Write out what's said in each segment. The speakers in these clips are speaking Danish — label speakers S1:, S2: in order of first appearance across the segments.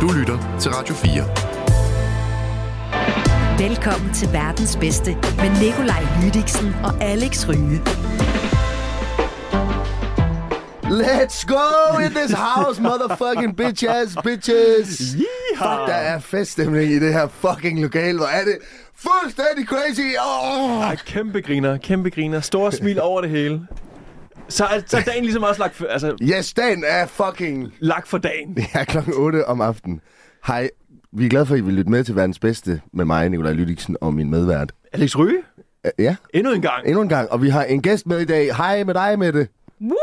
S1: Du lytter til Radio
S2: Velkommen til verdens bedste med Nikolaj Lydiksen og Alex Ryge.
S3: Let's go in this house, motherfucking bitch ass bitches. Fuck, der er feststemning i det her fucking lokal. Hvor er det fuldstændig crazy. Oh.
S4: Ej, kæmpe griner, kæmpe griner. Store smil over det hele. Så er så er dagen ligesom også lagt for, altså,
S3: Yes, dagen er fucking...
S4: lagt for dagen.
S3: Det er klokken 8 om aftenen. Hej, vi er glade for, at I vil lytte med til verdens bedste med mig, Nikolaj Lydiksen og min medvært.
S4: Alex Ryge,
S3: Øh, Ja,
S4: endnu en gang.
S3: endnu en gang. Og vi har en gæst med i dag. Hej med dig, Mette.
S4: Woo!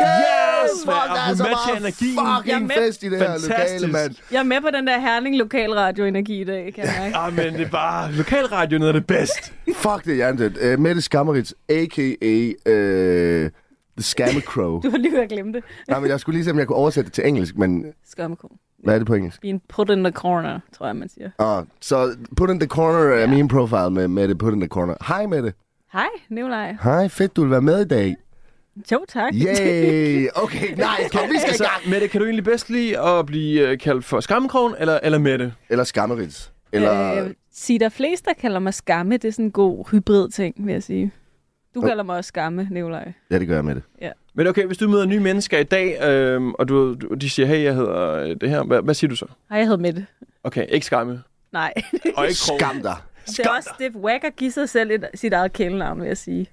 S3: Okay!
S4: Yes,
S3: Fuck,
S4: mand, og
S3: der er
S4: hun
S3: så
S4: matcher
S3: meget
S4: energien.
S5: Jeg er
S3: fucking
S5: med.
S3: fest i det her
S4: Fantastisk.
S3: lokale, mand.
S5: Jeg er med på den der herning lokalradioenergi i dag, kan jeg mærke.
S4: Ah, men det er bare... Lokalradio er noget af det bedste.
S3: Fuck det, Jerntet. Uh, Mette Skammerits, a.k.a. Uh, The Scammer Crow.
S5: Du har lige ved at glemme det.
S3: Nej, men jeg skulle lige se, om jeg kunne oversætte det til engelsk, men
S5: Skamko.
S3: hvad er det på engelsk?
S5: Being put in the corner, tror jeg, man siger.
S3: Ah, så put in the corner af
S5: Ja.
S3: min profile med Mette, put in the corner. Hej Mette.
S5: Hej, Nikolaj.
S3: Hej, fedt du vil være med i dag.
S5: Jo, tak. Øh,
S3: Yay! Okay, nice, kom, vi skal i
S4: Altså,
S3: gang.
S4: Mette, kan du egentlig bedst lide at blive øh, kaldt for Skammekrogen eller, eller Mette?
S3: Eller Skammerits. Eller...
S5: Øh, sig der flest, der kalder mig skamme. Det er sådan en god hybrid ting, vil jeg sige. Du kalder mig også skamme, Nikolaj.
S3: Ja, det gør jeg, Mette.
S4: Men okay, hvis du møder nye mennesker i dag, øhm, og du, du, de siger, hey, jeg hedder øh, det her, hvad, hvad siger du så?
S5: Hej, jeg hedder Mette.
S4: Okay, ikke skamme.
S5: Nej,
S4: Og ikke krogen.
S3: Skam dig.
S5: det er også det whack at give sig selv et, sit eget kælenavn, vil jeg sige.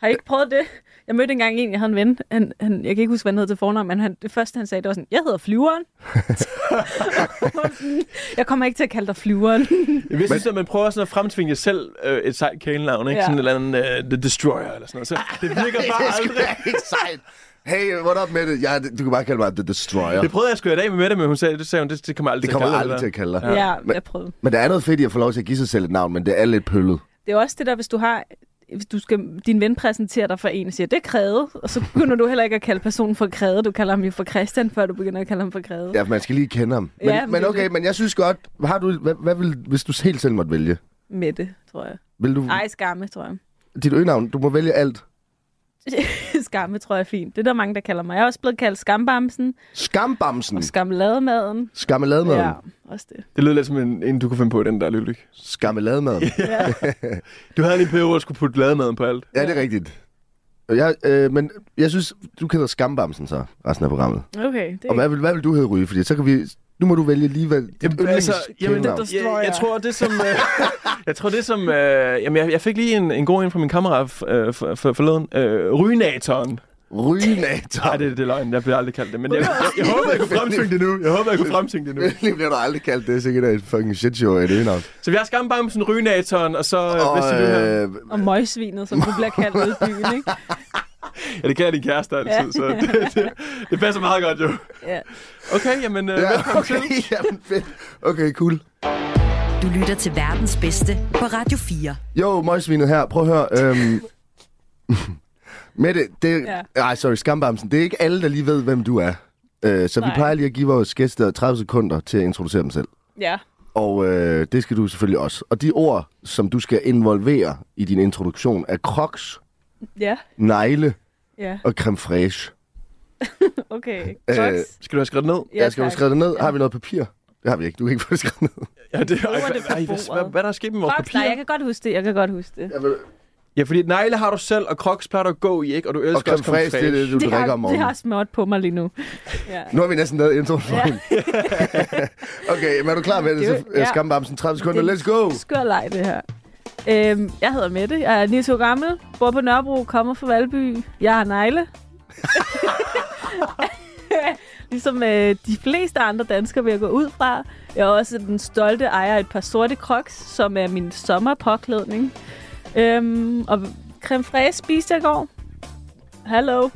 S5: Har I ikke prøvet det? Jeg mødte engang en, jeg havde en ven. Han, han, jeg kan ikke huske, hvad han hed til fornavn, men han, det første, han sagde, det var sådan, jeg hedder Flyveren. jeg kommer ikke til at kalde dig Flyveren.
S4: Jeg vil synes, at man prøver sådan at fremtvinge selv øh, et sejt kælenavn, ikke? Ja.
S5: Ja.
S4: Sådan et eller andet øh, The Destroyer eller sådan noget. Så det virker bare
S3: Ah, Det skal
S4: aldrig.
S3: være ikke sejt. Hey, what up, Mette? Ja, du kan bare kalde mig The Destroyer.
S4: Det prøvede jeg sgu i dag med Mette, men hun sagde, det, sagde hun, det, det kommer jeg aldrig
S3: Det kommer jeg
S4: til at
S3: aldrig til at kalde dig.
S5: ja,
S3: Men-
S5: jeg prøvede.
S3: Men der er noget fedt i at få lov til at give sig selv et navn, men det er lidt pøllet.
S5: Det er også det der, hvis du har hvis du skal, din ven præsenterer dig for en og siger, det er kræde, og så begynder du heller ikke at kalde personen for kræde. Du kalder ham jo for Christian, før du begynder at kalde ham for kræde.
S3: Ja, man skal lige kende ham. Men,
S5: Ja,
S3: ja,
S5: men
S3: men
S5: det er
S3: okay,
S5: det.
S3: men jeg synes godt, har du, hvad, hvad vil, hvis du helt selv måtte vælge?
S5: Mette, tror jeg.
S3: Vil du,
S5: Ej, skamme, tror jeg.
S3: dit øgenavn, du må vælge alt.
S5: skamme, tror jeg er fint. Det er der mange, der kalder mig. Jeg er også blevet kaldt skambamsen
S3: Skambamsen.
S5: og skamlademaden.
S3: Skammeladmaden.
S5: Ja,
S3: Ja.
S5: også det.
S4: Det lød lidt som en, en du kunne finde på, den der lyrik.
S3: Skammeladmaden.
S5: Ja.
S4: Du havde lige en periode, hvor du skulle putte lademaden på alt.
S3: ja, det er rigtigt. Og Jeg, øh, men jeg synes, du kalder Skambamsen så, resten af programmet.
S5: Okay, det
S3: Og hvad vil, hvad vil du hedde, Ryge? Fordi så kan vi... Nu må du vælge lige, hvad dit
S4: Jamen, altså, jamen, det, der, jeg, jeg tror, det som... Øh, jeg tror, det som... Øh, jamen, jeg, jeg fik lige en, en god en fra min kammerat f- øh, for, for, forleden. Øh, Rynatoren.
S3: Rygenator.
S4: Nej, det, det er løgn. Jeg bliver aldrig kaldt det. Men jeg, jeg, jeg, håber, jeg kunne fremtvinge det nu. Jeg håber, jeg kunne fremtvinge det nu.
S3: Det bliver du aldrig kaldt. Det er sikkert et fucking shit show af et øgenavn.
S4: Så vi har skambamsen, Rynatoren, og så... Øh, hvad siger du her?
S3: øh,
S5: Og møgsvinet, som du bliver kaldt ude i byen, ikke?
S4: Ja, det kan jeg din kæreste altid, ja.
S5: Ja.
S4: så det, det, det passer meget godt jo.
S5: Ja.
S4: Okay, jamen øh,
S3: ja,
S4: velkommen
S3: okay,
S4: til.
S3: jamen, fedt. Okay, cool.
S2: Du lytter til verdens bedste på Radio 4.
S3: Jo, møgsvinet her. Prøv at høre. Øhm... Mette, det...
S5: Ja.
S3: Nej, sorry, skambamsen. Det er ikke alle, der lige ved, hvem du er. Øh, så Nej. vi
S5: Nej.
S3: plejer lige at give vores gæster 30 sekunder til at introducere dem selv.
S5: ja.
S3: Og øh, det skal du selvfølgelig også. Og de ord, som du skal involvere i din introduktion, er crocs,
S5: Ja,
S3: negle
S5: ja,
S3: og creme fraiche.
S5: okay.
S3: Øh,
S5: Socks.
S4: Skal du have skrevet ned?
S5: Ja,
S3: jeg skal du
S5: tak.
S3: skrive det ned? Har vi noget papir? Det har vi ikke. Du kan ikke få det skrevet ned.
S4: Ja, det, ej,
S5: Bruger
S4: ej,
S5: det på
S4: ej, hvad,
S5: bordet.
S4: hvad, hvad er der sket med vores
S5: Crocs, nej, jeg
S4: papir?
S5: kan godt huske det, jeg kan godt huske det.
S3: Jeg vil...
S4: Ja, fordi negle har du selv, og crocs plejer du at gå i, ikke? Og du elsker
S3: Og creme
S4: også creme
S3: fraiche, det er det, du
S5: Det
S3: drikker om
S5: har, det
S3: morgenen.
S5: har småt på mig lige nu. Ja.
S3: Nu har vi næsten lavet introen for
S5: Ja.
S3: ja. Okay, men er du klar med det?
S5: Det er
S3: Så,
S5: jo-
S3: ja.
S5: ja.
S3: Skambamsen, 30 sekunder.
S5: Det er
S3: Let's go!
S5: Skør leg, det her. Øhm, jeg hedder Mette, jeg er 29 år gammel, bor på Nørrebro, kommer fra Valby. Jeg har negle. ligesom øh, de fleste andre danskere vil jeg gå ud fra. Jeg er også den stolte ejer af et par sorte crocs, som er min sommerpåklædning. Øhm, og creme fraise spiste jeg i går. Hallo.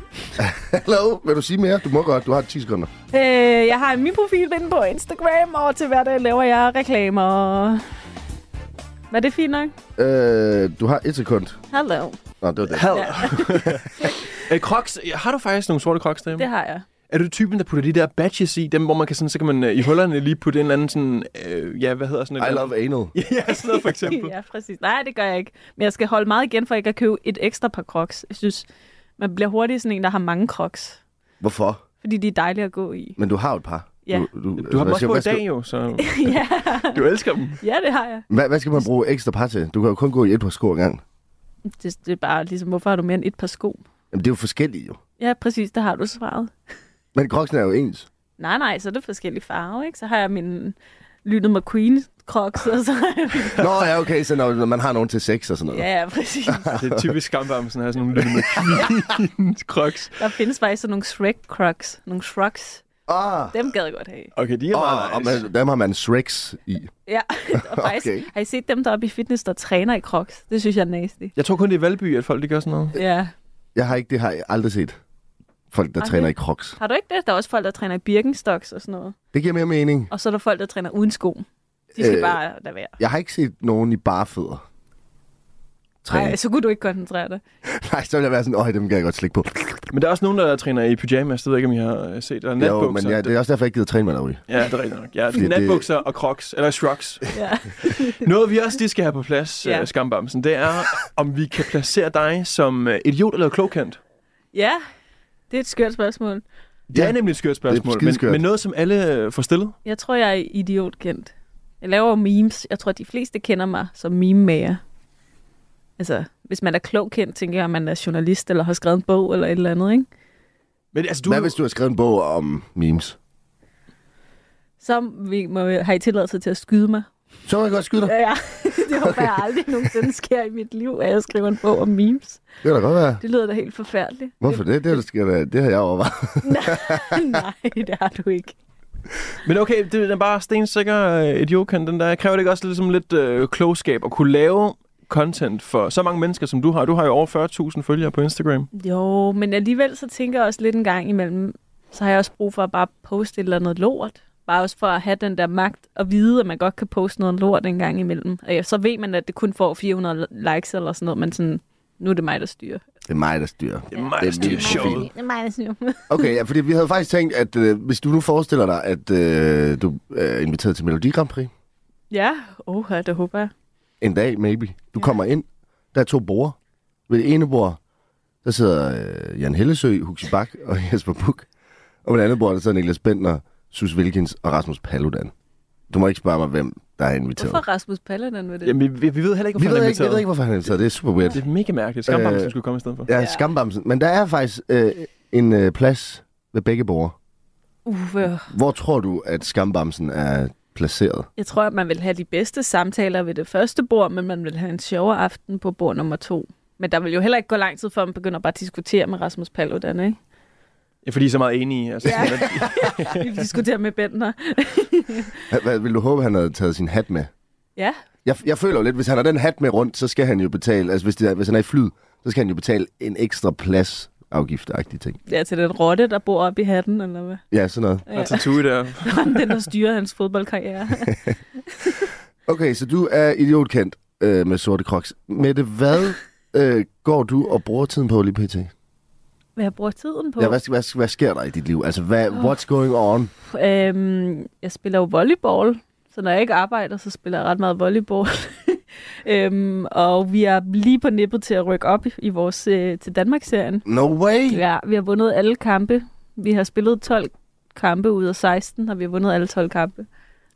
S3: Hallo, vil du sige mere? Du må godt, du har 10 sekunder.
S5: Øh, jeg har min profil inde på Instagram, og til hverdag laver jeg reklamer. Var det fint nok?
S3: Øh, du har 1 sekund.
S5: Hallo.
S3: Nå, det var det.
S4: Hal. Ja. Øh, crocs, ja, har du faktisk nogle sorte crocs derhjemme?
S5: Det har jeg.
S4: Er du typen, der putter de der badges i, dem hvor man kan sådan, så kan man øh, i hullerne lige putte en eller anden sådan, øh, ja, hvad hedder sådan en...
S3: I love anal.
S4: Ja, sådan noget for eksempel.
S5: ja, præcis. Nej, det gør jeg ikke. Men jeg skal holde meget igen for ikke at købe et ekstra par crocs. Jeg synes, man bliver hurtigt sådan en, der har mange crocs.
S3: Hvorfor?
S5: Fordi de er dejlige at gå i.
S3: Men du har jo et par.
S5: Ja.
S3: Du, du,
S4: Du har dem
S3: hvad
S4: også
S3: skal-
S4: på i
S3: hvad skal-
S4: dag jo, så
S5: ja.
S4: du elsker dem.
S5: ja, det har jeg.
S3: Hvad, hvad skal man bruge ekstra par til? Du kan jo kun gå i et par sko ad gangen.
S5: Det, det er bare ligesom, hvorfor har du mere end et par sko?
S3: Jamen, det er jo forskellige jo.
S5: Ja, præcis, der har du svaret.
S3: Men kroksen er jo ens.
S5: Nej, nej, så er det forskellige farver, ikke? Så har jeg min Lynet McQueen Crocs, og så har jeg min...
S3: Nå, ja, okay, så når, når man har nogen til sex og sådan noget.
S5: Ja, ja, præcis.
S4: Det er typisk skambamsen at have sådan nogle lille med crocs.
S5: Der findes faktisk sådan nogle Shrek Crocs, nogle Shrugs.
S3: Ah,
S5: Dem gad jeg godt have.
S4: Okay, de er
S3: ah, og
S4: meget nice.
S3: man, dem har man Shreks i.
S5: Ja, og faktisk,
S3: Okay.
S5: okay. har I set dem, der er oppe i fitness, der træner i Crocs? Det synes jeg er nasty.
S4: Jeg tror kun, det er i Valby, at folk de gør sådan noget.
S5: Ja.
S3: Jeg har ikke, det har jeg aldrig set. Folk, der
S5: Aldrig?
S3: træner i crocs.
S5: Har du ikke det? Der er også folk, der træner i Birkenstocks og sådan noget.
S3: Det giver mere mening.
S5: Og så er der folk, der træner uden sko. De skal
S3: Øh,
S5: øh, bare lade være.
S3: Jeg har ikke set nogen i barefødder. Træne.
S5: Nej, så kunne du ikke koncentrere dig.
S3: Nej, så ville jeg være sådan, øj, dem kan jeg godt slikke på.
S4: Men der er også nogen, der træner i pyjamas. Det ved jeg ikke, om I har øh, set. Eller natbukser.
S3: Jo, men ja, det er også derfor, jeg ikke gider træne mig derude.
S4: Ja, det er rigtigt nok. Ja,
S3: Fordi det-
S4: natbukser og crocs, eller shrugs.
S5: Ja.
S4: Noget, vi også lige skal have på plads,
S5: Ja.
S4: ja. Skambamsen, det er, om vi kan placere dig som øh, idiot eller klogkendt.
S5: ja, det er et skørt spørgsmål.
S4: Det er nemlig et skørt spørgsmål, men,
S3: skideskørt.
S4: men noget, som alle øh, får stillet.
S5: Jeg tror, jeg er idiotkendt. Jeg laver memes. Jeg tror, de fleste kender mig som meme-mager. Altså, hvis man er klog kendt, tænker jeg, at man er journalist eller har skrevet en bog eller et eller andet, ikke?
S4: Men altså, du...
S3: Hvad hvis du har skrevet en bog om memes?
S5: Så vi må, har I tilladelse til at skyde mig.
S3: Så må jeg godt skyde dig.
S5: Ja, ja. det håber jeg aldrig nogensinde sker i mit liv, at jeg skriver en bog om memes.
S3: Det kan da godt være.
S5: Det lyder da helt forfærdeligt.
S3: Hvorfor det? Det, det, det, det har jeg overvejet.
S5: Nej, det har du ikke.
S4: Men okay, det den er bare stensikker øh, idiotkendt, den der. Kræver det ikke også ligesom lidt øh, klogskab at kunne lave content for så mange mennesker, som du har? Du har jo over 40.000 følgere på Instagram.
S5: Jo, men alligevel så tænker jeg også lidt en gang imellem, så har jeg også brug for at bare poste et eller andet lort. Bare også for at have den der magt og vide, at man godt kan poste noget lort en gang imellem. Og ja, så ved man, at det kun får 400 likes eller sådan noget, men sådan, nu er det mig, der styrer.
S3: Det er mig, der styrer.
S4: Det er mig,
S3: Det
S4: der
S3: er
S4: styrer
S3: min
S4: showet.
S3: profil.
S5: er mig, der styrer.
S3: Okay, ja, fordi vi havde faktisk tænkt, at øh, hvis du nu forestiller dig, at øh, du er inviteret til Melodi Grand Prix
S5: ja, oh, det håber jeg.
S3: en dag, maybe. Du ja. kommer ind, der er to borer. Ved det ene bord, der sidder øh, Jan Hellesø, Huxi Bak og Jesper Buch. Og ved det andet bord, der sidder Niklas Bentner, Sus Wilkins og Rasmus Paludan. Du må ikke spørge mig, hvem der er inviteret.
S5: Hvorfor Rasmus Paludan med det?
S4: Jamen, vi, vi, vi ved heller ikke,
S3: Vi
S4: hvorfor
S3: ved
S4: han er
S3: ikke, jeg ved
S4: inviteret.
S3: ikke, hvorfor han er inviteret. Det er super weird.
S4: Det er mega mærkeligt. Skambamsen
S3: Øh,
S4: skulle komme i stedet for.
S3: Ja, skambamsen. Men der er faktisk øh, en øh, plads ved begge borger.
S5: Uffe,
S3: Hvor tror du, at skambamsen er placeret?
S5: jeg tror, at man vil have de bedste samtaler ved det første bord, men man vil have en sjovere aften på bord nummer to. Men der vil jo heller ikke gå lang tid, før man begynder bare at diskutere med Rasmus Paludan, ikke?
S4: Ja, fordi I er så meget enige. Altså, ja.
S5: Vi diskuterer med Bentner.
S3: H- Hvad, vil du håbe, han havde taget sin hat med?
S5: Ja,
S3: Jeg, jeg føler jo lidt, hvis han har den hat med rundt, så skal han jo betale, altså hvis, det er, hvis han er i flyd, så skal han jo betale en ekstra plads afgiftagtig ting.
S5: ja, til den rotte, der bor oppe i hatten, eller hvad?
S3: Ja, sådan noget.
S4: og tattoo der.
S5: Om den, der styrer hans fodboldkarriere.
S3: Okay, så du er idiotkendt øh, med sorte crocs. Mette, hvad øh, går du og bruger tiden på lige pt?
S5: Hvad jeg bruger tiden på?
S3: Ja, hvad, hvad, hvad sker der i dit liv? Altså, hvad, what's going on?
S5: Øhm, jeg spiller jo volleyball, så når jeg ikke arbejder, så spiller jeg ret meget volleyball. øhm, og vi er lige på nippet til at rykke op i- i vores øh, til Danmark-serien.
S3: No way!
S5: Ja, vi har vundet alle kampe. Vi har spillet 12 kampe ud af 16, og vi har vundet alle 12 kampe.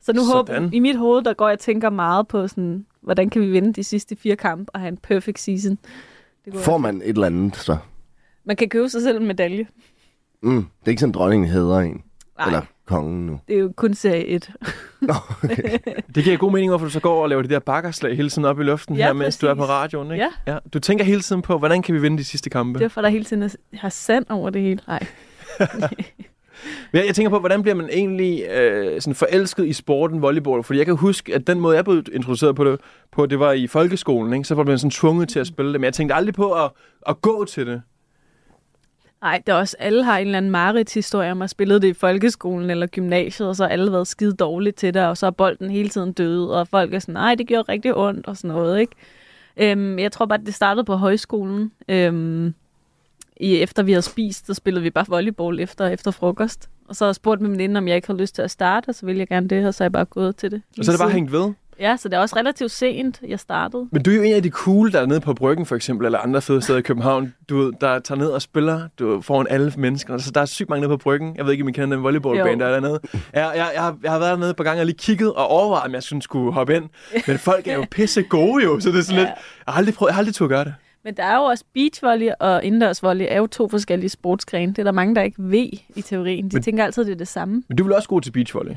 S5: Så nu håber,
S4: Sådan.
S5: i mit hoved, der går jeg og tænker meget på, sådan, hvordan kan vi vinde de sidste fire kampe og have en perfect season. Det kunne
S3: Får man et eller andet, så?
S5: Man kan købe sig selv en medalje.
S3: Mm, det er ikke sådan, dronningen hedder en.
S5: Nej,
S3: Eller kongen nu.
S5: det er jo kun serie 1.
S3: Nå, okay.
S4: Det giver god mening, hvorfor du så går og laver de der bakkerslag hele tiden op i luften
S5: Ja,
S4: her, mens du er på
S5: præcis.
S4: radioen. Ikke?
S5: Ja.
S4: ja. Du tænker hele tiden på, hvordan kan vi vinde de sidste kampe?
S5: Det er derfor, der hele tiden er, har sand over det hele. Nej.
S4: Jeg, jeg tænker på, hvordan bliver man egentlig øh, sådan forelsket i sporten volleyball? Fordi jeg kan huske, at den måde, jeg blev introduceret på det, på, det var i folkeskolen. Ikke? Så var man sådan tvunget til at spille det. Men jeg tænkte aldrig på at, at gå til det.
S5: Nej, det er også, alle har en eller anden mareridt-historie om at spille det i folkeskolen eller gymnasiet, og så har alle været skide dårligt til det, og så er bolden hele tiden død, og folk er sådan, nej, det gjorde rigtig ondt og sådan noget, ikke? Øhm, jeg tror bare, det startede på højskolen. Øhm, i, efter vi havde spist, så spillede vi bare volleyball efter, efter frokost. Og så havde jeg spurgt min veninde, om jeg ikke havde lyst til at starte, og så ville jeg gerne det, og så er jeg bare gået til det.
S4: Og så er det bare
S5: Lige
S4: hængt ved.
S5: Ja, så det er også relativt sent, jeg startede.
S4: Men du er jo en af de cool, der er nede på Bryggen for eksempel, eller andre fede steder i København, du, ved, der tager ned og spiller du, ved, foran alle mennesker. Så der er sygt mange nede på Bryggen. Jeg ved ikke, om I kender den volleyballbane,
S5: Jo.
S4: der er dernede. Jeg, jeg, jeg, har- jeg har været dernede et par gange og lige kigget og overvejet, om jeg synes, skulle hoppe ind. Men folk er jo pisse gode jo, så det er sådan
S5: Ja.
S4: ja. lidt... Jeg har aldrig prøvet, jeg har aldrig turde gøre det.
S5: Men der er jo også beachvolley og indendørsvolley er jo to forskellige sportsgrene. Det er der mange, der ikke ved i teorien. De
S4: Men-
S5: men... tænker altid, det er det samme.
S4: Men du er vel også god til beachvolley?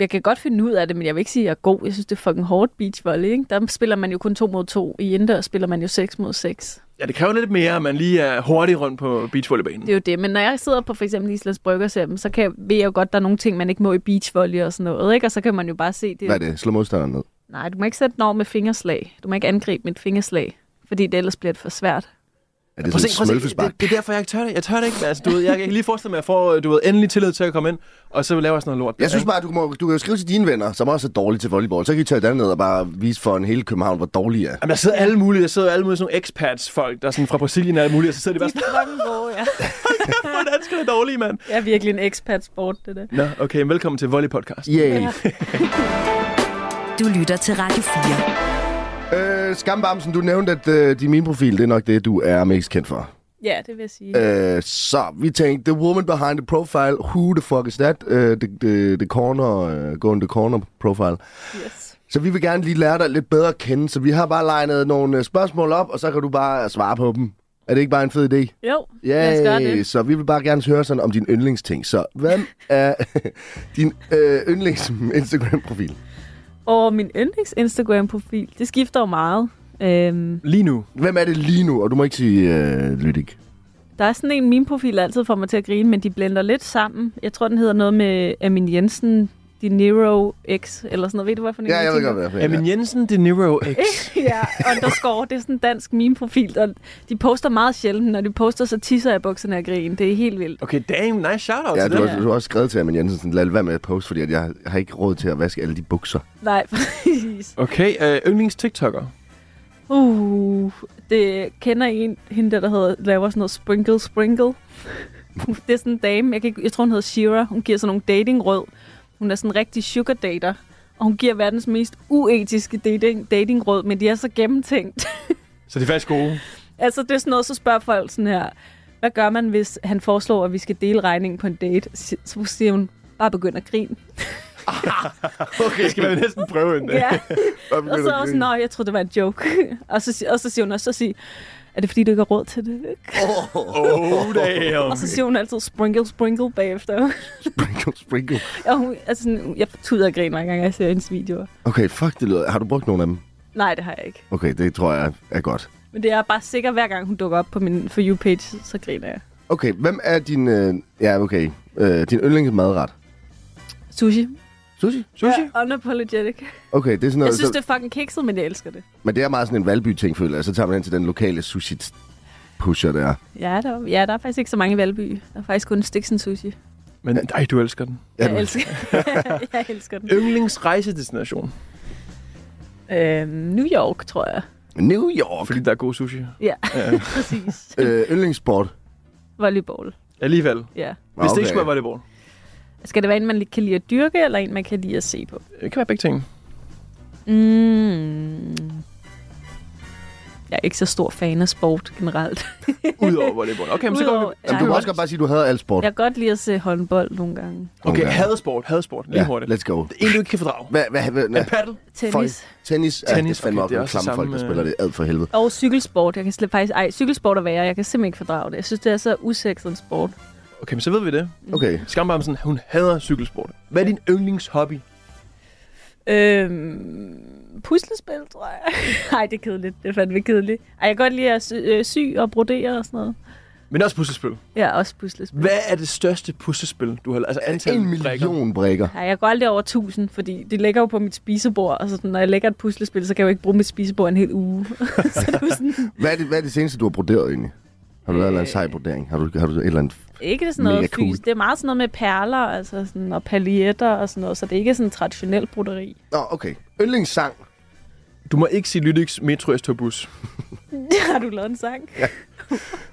S5: Jeg kan godt finde ud af det, men jeg vil ikke sige, at jeg er god. Jeg synes, det er fucking hårdt beachvolley. Ikke? Der spiller man jo kun to mod to. I indendørs spiller man jo 6 mod 6.
S4: Ja, det kræver lidt mere, at man lige er hurtig rundt på beachvolleybanen.
S5: Det er jo det. Men når jeg sidder på for eksempel Islands Brygge og ser dem, så kan jeg, ved jeg jo godt, at der er nogle ting, man ikke må i beachvolley og sådan noget. Ikke? Og så kan man jo bare se det.
S3: Hvad er det? Slå modstanderen ned.
S5: Nej, du må ikke sætte den over med fingerslag. Du må ikke angribe mit fingerslag, fordi det ellers bliver det for svært.
S3: Er det
S4: Prøv at
S3: sådan
S4: se,
S3: et
S4: prøv at se,
S3: smølfespark?
S4: det, det, er derfor, jeg ikke tør det. Jeg tør det ikke. men Altså, du ved, jeg kan lige forestille mig, at jeg får øh, du ved, endelig tillid til at komme ind, og så laver jeg sådan noget lort. der,
S3: Jeg synes
S4: ikke?
S3: bare, at du, må, du kan jo skrive til dine venner, som også er dårlige til volleyball. Så kan I tage derned og bare vise for en hele København, hvor dårlig jeg er.
S4: Jamen, der sidder alle mulige, der sidder alle mulige sådan nogle expats-folk, der er sådan fra Brasilien og alle mulige, og så sidder de bare sådan,
S5: fucking gode, ja.
S4: hvordan skal det dårlige, mand?
S5: Jeg er virkelig en expat-sport, det der.
S4: Nå, okay, men velkommen til Volley Podcast.
S3: Yay.
S2: Du lytter til Radio 4.
S3: Øh, Skambamsen, du nævnte, at øh, din min-profil, det er nok det, du er mest kendt for.
S5: Ja, det vil jeg sige.
S3: Øh, så vi tænkte, the woman behind the profile, who the fuck is that? Øh, the, the, the corner, øh, go in the corner profile.
S5: Yes.
S3: Så vi vil gerne lige lære dig lidt bedre at kende, så vi har bare legnet nogle øh, spørgsmål op, og så kan du bare svare på dem. Er det ikke bare en fed idé?
S5: Jo,
S3: Ja,
S5: lad os gøre det.
S3: så vi vil bare gerne høre sådan om din yndlingsting. Så hvem er din øh, yndlings Instagram-profil?
S5: Og min yndlings Instagram-profil, det skifter jo meget. Øhm,
S4: Lige nu.
S3: Hvem er det lige nu? Og du må ikke sige øh, Lydik.
S5: der er sådan en, min profil altid får mig til at grine, men de blender lidt sammen. Jeg tror, den hedder noget med Amin Jensen, De Niro X, eller sådan noget. Ved du, hvad for en
S3: Ja, Eh. jeg ved
S5: tænker?
S3: godt, hvad jeg
S4: Ja. Amin Jensen, De Niro X.
S5: ja, underscore. Det er sådan en dansk meme-profil, og de poster meget sjældent. Når de poster, så tisser jeg i bukserne af grin. Det er helt vildt.
S4: Okay, damn, nice shout-out
S3: Ja,
S4: til
S3: du
S4: det.
S3: har, du har også skrevet til Amin Jensen, sådan, lad være med at poste, fordi at jeg har ikke råd til at vaske alle de bukser.
S5: Nej, præcis.
S4: Okay, øh, yndlings TikToker.
S5: Uh, det kender en, hende der, der hedder, laver sådan noget sprinkle sprinkle. det er sådan en dame, jeg, kan ikke, jeg tror hun hedder Shira. Hun giver sådan nogle datingråd. Hun er sådan en rigtig sugar dater. Og hun giver verdens mest uetiske dating, datingråd, men de er så gennemtænkt.
S4: Så det er faktisk gode.
S5: altså det er sådan noget, så spørger folk sådan her, hvad gør man, hvis han foreslår, at vi skal dele regningen på en date? Si- Så siger hun, bare begynd at grine.
S4: Okay. Det skal man næsten prøve en dag.
S5: Ja. Og så også, nå, jeg troede, det var en joke. og, så, si- og så siger hun også, så sig, er det fordi, du ikke har råd til det?
S4: Oh, damn.
S5: Og så siger hun altid sprinkle, sprinkle bagefter.
S3: Sprinkle, sprinkle.
S5: og hun, altså, sådan, jeg tuder og griner, hver gang jeg ser hendes videoer.
S3: Okay, fuck, det lyder... Har du brugt nogen af dem?
S5: Nej, det har jeg ikke.
S3: Okay, det tror jeg er godt.
S5: Men det er bare sikkert, hver gang hun dukker op på min For You-page, så griner jeg.
S3: Okay, hvem er din... Øh, ja, okay. Øh, din yndlingsmadret?
S5: Sushi.
S3: Sushi?
S4: Sushi?
S5: Ja, unapologetic.
S3: Okay, det er sådan noget...
S5: Jeg synes,
S3: så,
S5: det er fucking kikset, men jeg elsker det.
S3: Men det er meget sådan en valby-ting, føler jeg. Så tager man hen til den lokale sushi-pusher der.
S5: Ja, der, ja, der er faktisk ikke så mange i Valby. Der er faktisk kun Stiksen Sushi.
S4: Men ej, du elsker den.
S3: Ja,
S5: Jeg
S3: du-
S5: elsker, jeg elsker den.
S4: Yndlings rejsedestination.
S5: Øhm, New York, tror jeg.
S3: New York.
S4: Fordi der er god sushi.
S5: Ja, præcis.
S3: Øh, yndlingssport.
S5: Volleyball,
S4: Alligevel.
S5: ja.
S4: Hvis det ikke skulle
S3: Okay.
S4: være volleyball.
S5: Skal det være en, man lige kan lide at dyrke, eller en, man kan lide at se på?
S4: Det kan være begge ting.
S5: Mm. Jeg er ikke så stor fan af sport generelt.
S4: Udover volleyball. Okay, men så går
S5: Udover-
S4: vi.
S3: Jamen, du må også godt bare sige, at du havde al sport.
S5: Jeg kan godt lide at se håndbold nogle gange.
S4: Okay,
S3: Okay.
S4: hadesport, hadesport. Lige hurtigt.
S3: let's go.
S4: Det er en, du ikke kan fordrage.
S3: Hvad, hvad, hvad,
S4: Er
S3: nej.
S4: paddle?
S5: Tennis. Folk.
S3: Tennis, ja, det er
S4: Tennis,
S3: fandme
S4: okay,
S3: også
S4: det er
S3: nogle klamme folk,
S4: også det
S3: der
S4: samme, øh,
S3: spiller det ad for helvede.
S5: Og cykelsport. Jeg kan slet faktisk... Ej, cykelsport er værre. Jeg kan simpelthen ikke fordrage det. Jeg synes, det er så usekset en sport.
S4: Okay, men så ved vi det.
S5: Mm.
S3: Okay,
S4: Skambamsen, hun hader cykelsport. Hvad er din yndlingshobby?
S5: Øhm, puslespil, tror jeg. Ej, det er kedeligt. Det er fandme kedeligt. Ej, jeg kan godt lide at sy, øh, sy og brodere og sådan noget.
S4: Men også puslespil.
S5: Ja, også puslespil.
S4: Hvad er det største puslespil, du har Altså antal
S3: en million brækker.
S5: Nej, jeg går aldrig over 1000, fordi det ligger jo på mit spisebord, og sådan, når jeg lægger et puslespil, så kan jeg jo ikke bruge mit spisebord en hel uge. så det er jo sådan,
S3: Hvad er, det, hvad er det seneste, du har broderet egentlig? Har du lavet en eller anden
S5: Øh.
S3: sej brodering? Har du, har du et eller andet...
S5: ikke sådan
S3: Mega
S5: noget
S3: cool.
S5: fys. Det er meget sådan noget med perler altså sådan, og paljetter og sådan noget, så det er ikke sådan traditionel broderi.
S3: Nå, okay. Yndlingssang.
S4: Du må ikke sige Lydiks Metro S-togbus.
S5: Har du lavet en sang?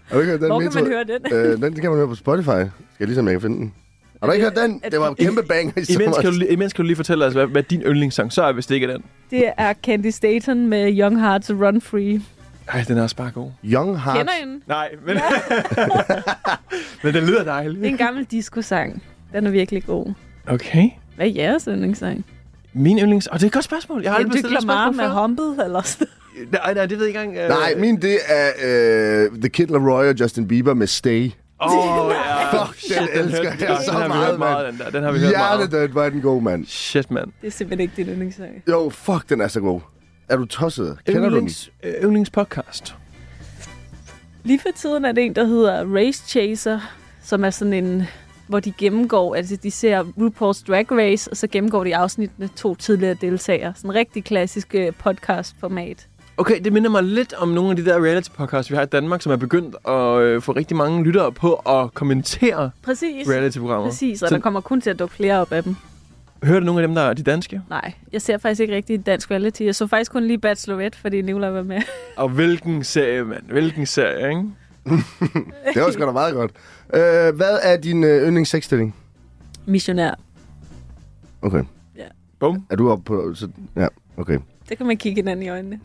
S3: Har du ikke hørt den
S5: Hvor kan
S3: metro?
S5: man høre den?
S3: Øh, den kan man høre på Spotify. Skal jeg ligesom, jeg kan finde den. Har du ikke hørt den? Det var en kæmpe bang i
S4: Imens kan,
S3: sommer.
S4: du, li- imens kan du lige fortælle os, hvad, hvad din yndlingssang så er, hvis det ikke er den.
S5: Det er Candy Staten med Young Hearts Run Free.
S4: Ej, den er også bare god.
S3: Young Heart.
S5: Kender I den?
S4: Nej, men... men den lyder
S5: Det er
S4: dejligt.
S5: en gammel disco-sang. Den er virkelig god.
S4: Okay.
S5: Hvad er jeres yndlingssang?
S4: Min yndlings... Og det er et godt spørgsmål. Jeg har aldrig
S5: Jamen,
S4: bestilt
S5: Dyk
S4: et
S5: Lamar
S4: spørgsmål
S5: med
S4: før.
S5: Humble, eller sådan
S4: Nej, nej, det ved jeg ikke engang. øh,
S3: Nej, min det er øh, The Kid Laroi og Justin Bieber med Stay.
S4: Åh, oh, ja.
S3: Fuck, den elsker
S4: hørte-
S3: jeg så
S4: den har vi
S3: meget,
S4: hørt meget,
S3: mand.
S4: den der. Den har vi hørt meget.
S3: Hjertedødt, hvor er den god, mand.
S4: Shit, mand.
S5: Det er simpelthen ikke din yndlingssang.
S3: Jo, fuck, den er så god. Er du tosset? Kender du den?
S4: Yndlings, øh, yndlingspodcast.
S5: Lige for tiden er det en, der hedder Race Chaser, som er sådan en hvor de gennemgår, altså de ser RuPaul's Drag Race, og så gennemgår de afsnittene to tidligere deltagere. Sådan en rigtig klassisk øh, podcast-format.
S4: Okay, det minder mig lidt om nogle af de der reality-podcasts, vi har i Danmark, som er begyndt at øh, få rigtig mange lyttere på at kommentere
S5: Præcis.
S4: reality-programmer.
S5: Præcis, og
S4: Så
S5: der kommer kun til at dukke flere op af dem.
S4: hører du nogle af dem, der er de danske?
S5: Nej, jeg ser faktisk ikke rigtig dansk reality. Jeg så faktisk kun lige Bachelorette, fordi Nicolaj var med.
S4: Og hvilken serie, mand. Hvilken serie, ikke?
S3: Det var sgu da meget godt. Øh, hvad er din øh, yndlingssexstilling?
S5: Missionær.
S3: Okay.
S4: Bum.
S3: Er du oppe på... Så, ja, okay.
S5: Der kan man kigge hinanden i øjnene.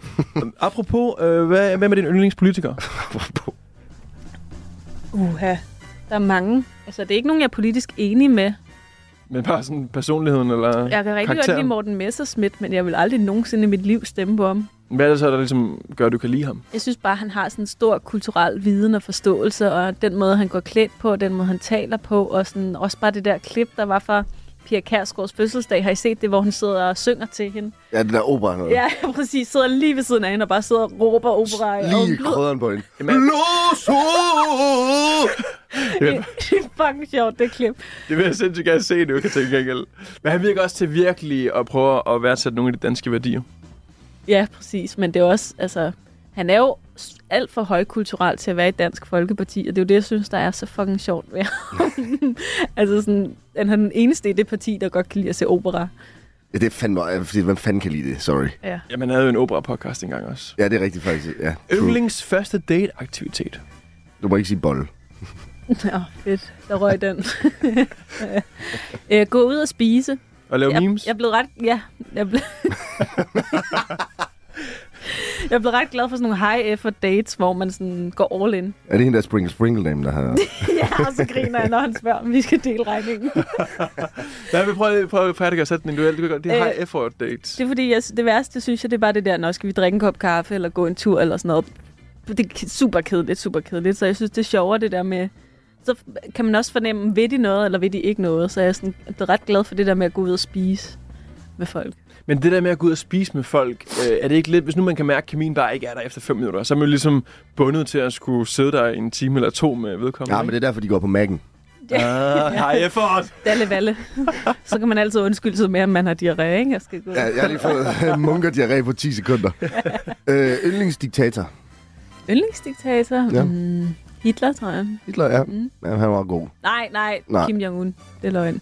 S4: Apropos, øh, hvad, hvad med din yndlingspolitiker?
S5: Uha. Der er mange. Altså, det er ikke nogen, jeg er politisk enig med.
S4: Men bare sådan personligheden, eller
S5: Jeg kan rigtig Karakteren. godt
S4: karakteren?
S5: lide Morten Messerschmidt, men jeg vil aldrig nogensinde i mit liv stemme på ham.
S4: Hvad er det så, der ligesom gør, at du kan lide ham?
S5: Jeg synes bare, han har sådan en stor kulturel viden og forståelse, og den måde, han går klædt på, og den måde, han taler på, og sådan, også bare det der klip, der var fra Pia Kærsgaards fødselsdag. Har I set det, hvor hun sidder og synger til hende?
S3: Ja, den der opera noget.
S5: Ja, præcis. Sidder lige ved siden af hende og bare sidder og råber opera. og-
S3: Lige i krydderen på hende.
S4: Jamen-
S3: Loso!
S4: Jamen,
S5: Det er fucking sjovt, det klip.
S4: det vil jeg sindssygt gerne se nu, kan tænke gengæld. Men han virker også til virkelig at prøve at værdsætte nogle af de danske værdier.
S5: Ja, præcis. Men det er også, altså, han er jo s- alt for højkulturel til at være i Dansk Folkeparti, og det er jo det, jeg synes, der er så fucking sjovt ved ham. altså sådan, han er den eneste i det parti, der godt kan lide at se opera.
S3: Ja, det er fandme... ja, Fordi, hvem fanden kan lide det? Sorry.
S5: Ja.
S4: Jamen, han havde jo en opera-podcast engang også.
S3: Ja, det er rigtigt faktisk. Ja, true.
S4: Yndlings første date-aktivitet.
S3: Du må ikke sige bolle.
S5: Nå, fedt. Der røg den. øh, gå ud og spise.
S4: Og lave
S5: Jeg,
S4: memes.
S5: jeg blev ret... Ja, jeg blev... jeg blev ret glad for sådan nogle high effort dates, hvor man sådan går all in.
S3: Er det hende der Sprinkle Sprinkle Dame, der har...
S5: Ja, og så griner jeg, når han spørger, om vi skal dele regningen.
S4: Nej, vi prøver, prøver at færdiggøre sætningen. Du er godt. Det er
S5: Øh,
S4: high effort dates.
S5: Det er fordi, jeg, det værste, synes jeg, det er bare det der, når skal vi drikke en kop kaffe eller gå en tur eller sådan noget. Det er k- super kedeligt, super kedeligt, så jeg synes, det er sjovere det der med... Så f- kan man også fornemme, vil de noget, eller vil de ikke noget. Så jeg er sådan, jeg er ret glad for det der med at gå ud og spise med folk.
S4: Men det der med at gå ud og spise med folk, øh, er det ikke lidt... Hvis nu man kan mærke, at kemien bare ikke er der efter 5 minutter, så er man jo ligesom bundet til at skulle sidde der i en time eller to med vedkommende.
S3: Ja, men det er derfor, de går på Mac'en.
S4: Ah, high effort!
S5: Dalle valle. så kan man altid undskylde sig med, at man har diarré, ikke? Jeg skal gå.
S3: Ja,
S5: Ja.
S3: jeg har lige fået munkerdiarré på 10 sekunder. øh, yndlingsdiktator.
S5: Yndlingsdiktator?
S3: Ja.
S5: Ja. Mm, Hitler, tror jeg.
S3: Hitler, ja.
S5: Mm.
S3: ja han var god.
S5: Nej, nej,
S3: Nej.
S5: nej. Kim Jong-un. Det er løgn.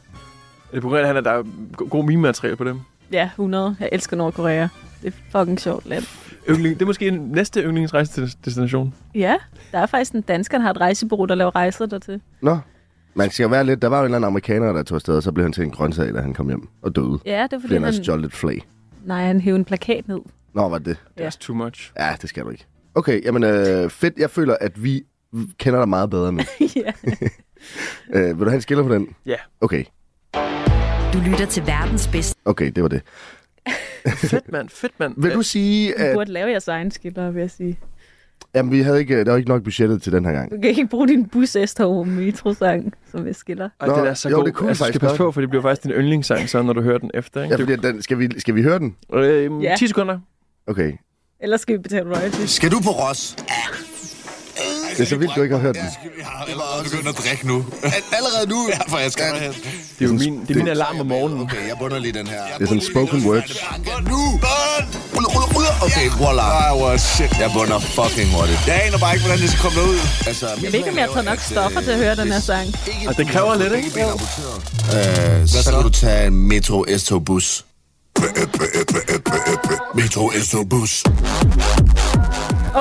S4: Det er på grund af, at han er, der er go- god meme-materiale på dem.
S5: Ja, 100. Jeg elsker Nordkorea. Det er fucking sjovt land.
S4: Yndling, det er måske en næste yndlingsrejsedestination.
S5: Ja, der er faktisk en dansker, der har et rejsebureau, der laver rejser dertil.
S3: Nå. Man skal jo være lidt... Der var jo en eller anden amerikaner, der tog afsted, og så blev han til en grøntsag, da han kom hjem og døde.
S5: Ja, det er fordi,
S3: Fordi han
S5: han...
S3: har stjålet et flag.
S5: Nej, han hævde en plakat ned.
S3: Nå, var det det?
S5: Ja.
S4: That's too much.
S3: Ja, det skal du ikke. Okay, jamen øh, fedt. Jeg føler, at vi kender dig meget bedre nu.
S5: ja.
S3: øh, vil du have en skiller på den?
S4: Ja.
S3: Okay,
S2: Du lytter til verdens bedste.
S3: okay, det var det.
S4: Fedt, mand. Fedt, mand.
S3: Vil du sige,
S5: Du
S3: at
S5: burde lave jeres egen skiller, vil jeg sige.
S3: jamen, vi havde ikke, der var ikke nok budgettet til den her gang?
S5: Du kan ikke bruge din bus Estorv Metro-sang, som jeg skiller.
S4: Og
S3: Nå,
S4: den er så
S3: jo,
S4: god.
S3: det kunne
S4: altså, du skal
S3: faktisk
S4: passe
S3: godt.
S4: på, for det bliver faktisk din yndlingssang, så når du hører den efter.
S3: Ja,
S4: Ikke?
S3: fordi at den, skal, vi, skal vi høre den?
S4: øh,
S5: Ja.
S4: 10 sekunder.
S3: Okay.
S5: Ellers skal vi betale royalties.
S1: Skal du på Ros?
S3: Det er så vildt, du ikke har hørt den.
S1: Jeg har allerede begyndt at drikke nu. Allerede nu? Ja, for jeg skal derhen.
S4: Det er jo min, det er min alarm om morgenen.
S1: Okay, jeg bunder lige den her.
S3: Det er sådan spoken words.
S1: Nu! Ruller, ruller, ruller. Okay, voila. Ej, hvor shit. Jeg bunder fucking hurtigt. Jeg aner bare ikke, hvordan det skal komme ud. Altså,
S5: Jeg ved ikke, om jeg tager nok stoffer til at høre den her sang.
S4: Og det kræver lidt, ikke?
S1: Øh, så kan du tage en Metro S-tog-bus. Metro S-tog-bus.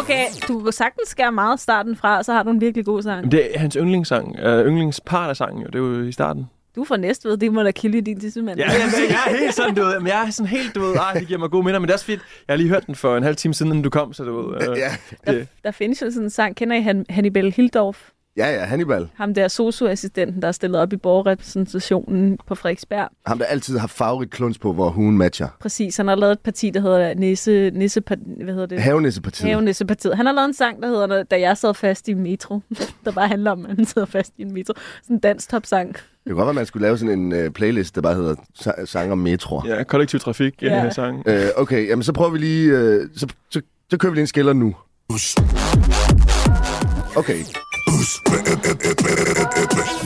S5: Okay, du kan sagtens skære meget starten fra, og så har du en virkelig god sang.
S4: Det er hans yndlingssang. Øh, yndlingspart af sangen, jo. Det er jo i starten.
S5: Du er fra Næstved, det må da kilde i din tissemand.
S4: Ja, jeg, jeg, jeg er helt sådan, du ved, men jeg er sådan helt, du ved, ej, det giver mig gode minder, men det er også fedt. Jeg har lige hørt den for en halv time siden, inden du kom, så du ved. Øh,
S3: Ja.
S4: det,
S5: Der findes jo sådan en sang, kender I Han- Hannibal Hildorf?
S3: Ja, ja, Hannibal.
S5: Ham der socioassistenten, der er stillet op i borgerrepræsentationen på Frederiksberg.
S3: Ham, der altid har farvet kluns på, hvor hun matcher.
S5: Præcis, han har lavet et parti, der hedder Nisse, Nisse, hvad hedder det?
S3: Havenissepartiet.
S5: Havenissepartiet. Han har lavet en sang, der hedder Da jeg sad fast i metro. der bare handler om, at han sidder fast i en metro. Sådan en dansk topsang.
S3: Det kunne godt være, at man skulle lave sådan en øh, playlist, der bare hedder sa- Sang om metroer.
S4: ja, kollektiv trafik, ja.
S5: Ja.
S4: her sang.
S3: Øh, okay, jamen så prøver vi lige... Øh, så, så, så kører vi lige en skiller nu. Okay,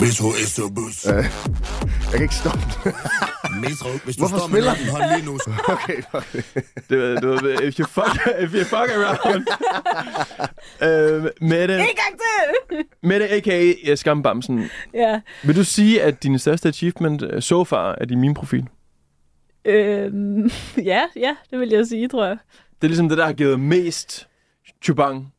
S1: Metro efter bus.
S3: jeg kan ikke stoppe. den.
S1: Metro, hvis du
S3: Hvorfor
S1: står med
S3: spiller-
S1: nakken hånd lige nu, så
S3: okay, fuck det.
S4: Det, ved- du ved, if you fuck, if you fuck around. øh, Mette,
S5: En gang til!
S4: Mette, a.k.a. Skambamsen,
S5: ja.
S4: vil du sige, at din største achievement øh, so far er din meme-profil?
S5: Øhm, ja, ja, det vil jeg sige, tror jeg.
S4: Det er ligesom det, der har givet mest chubang.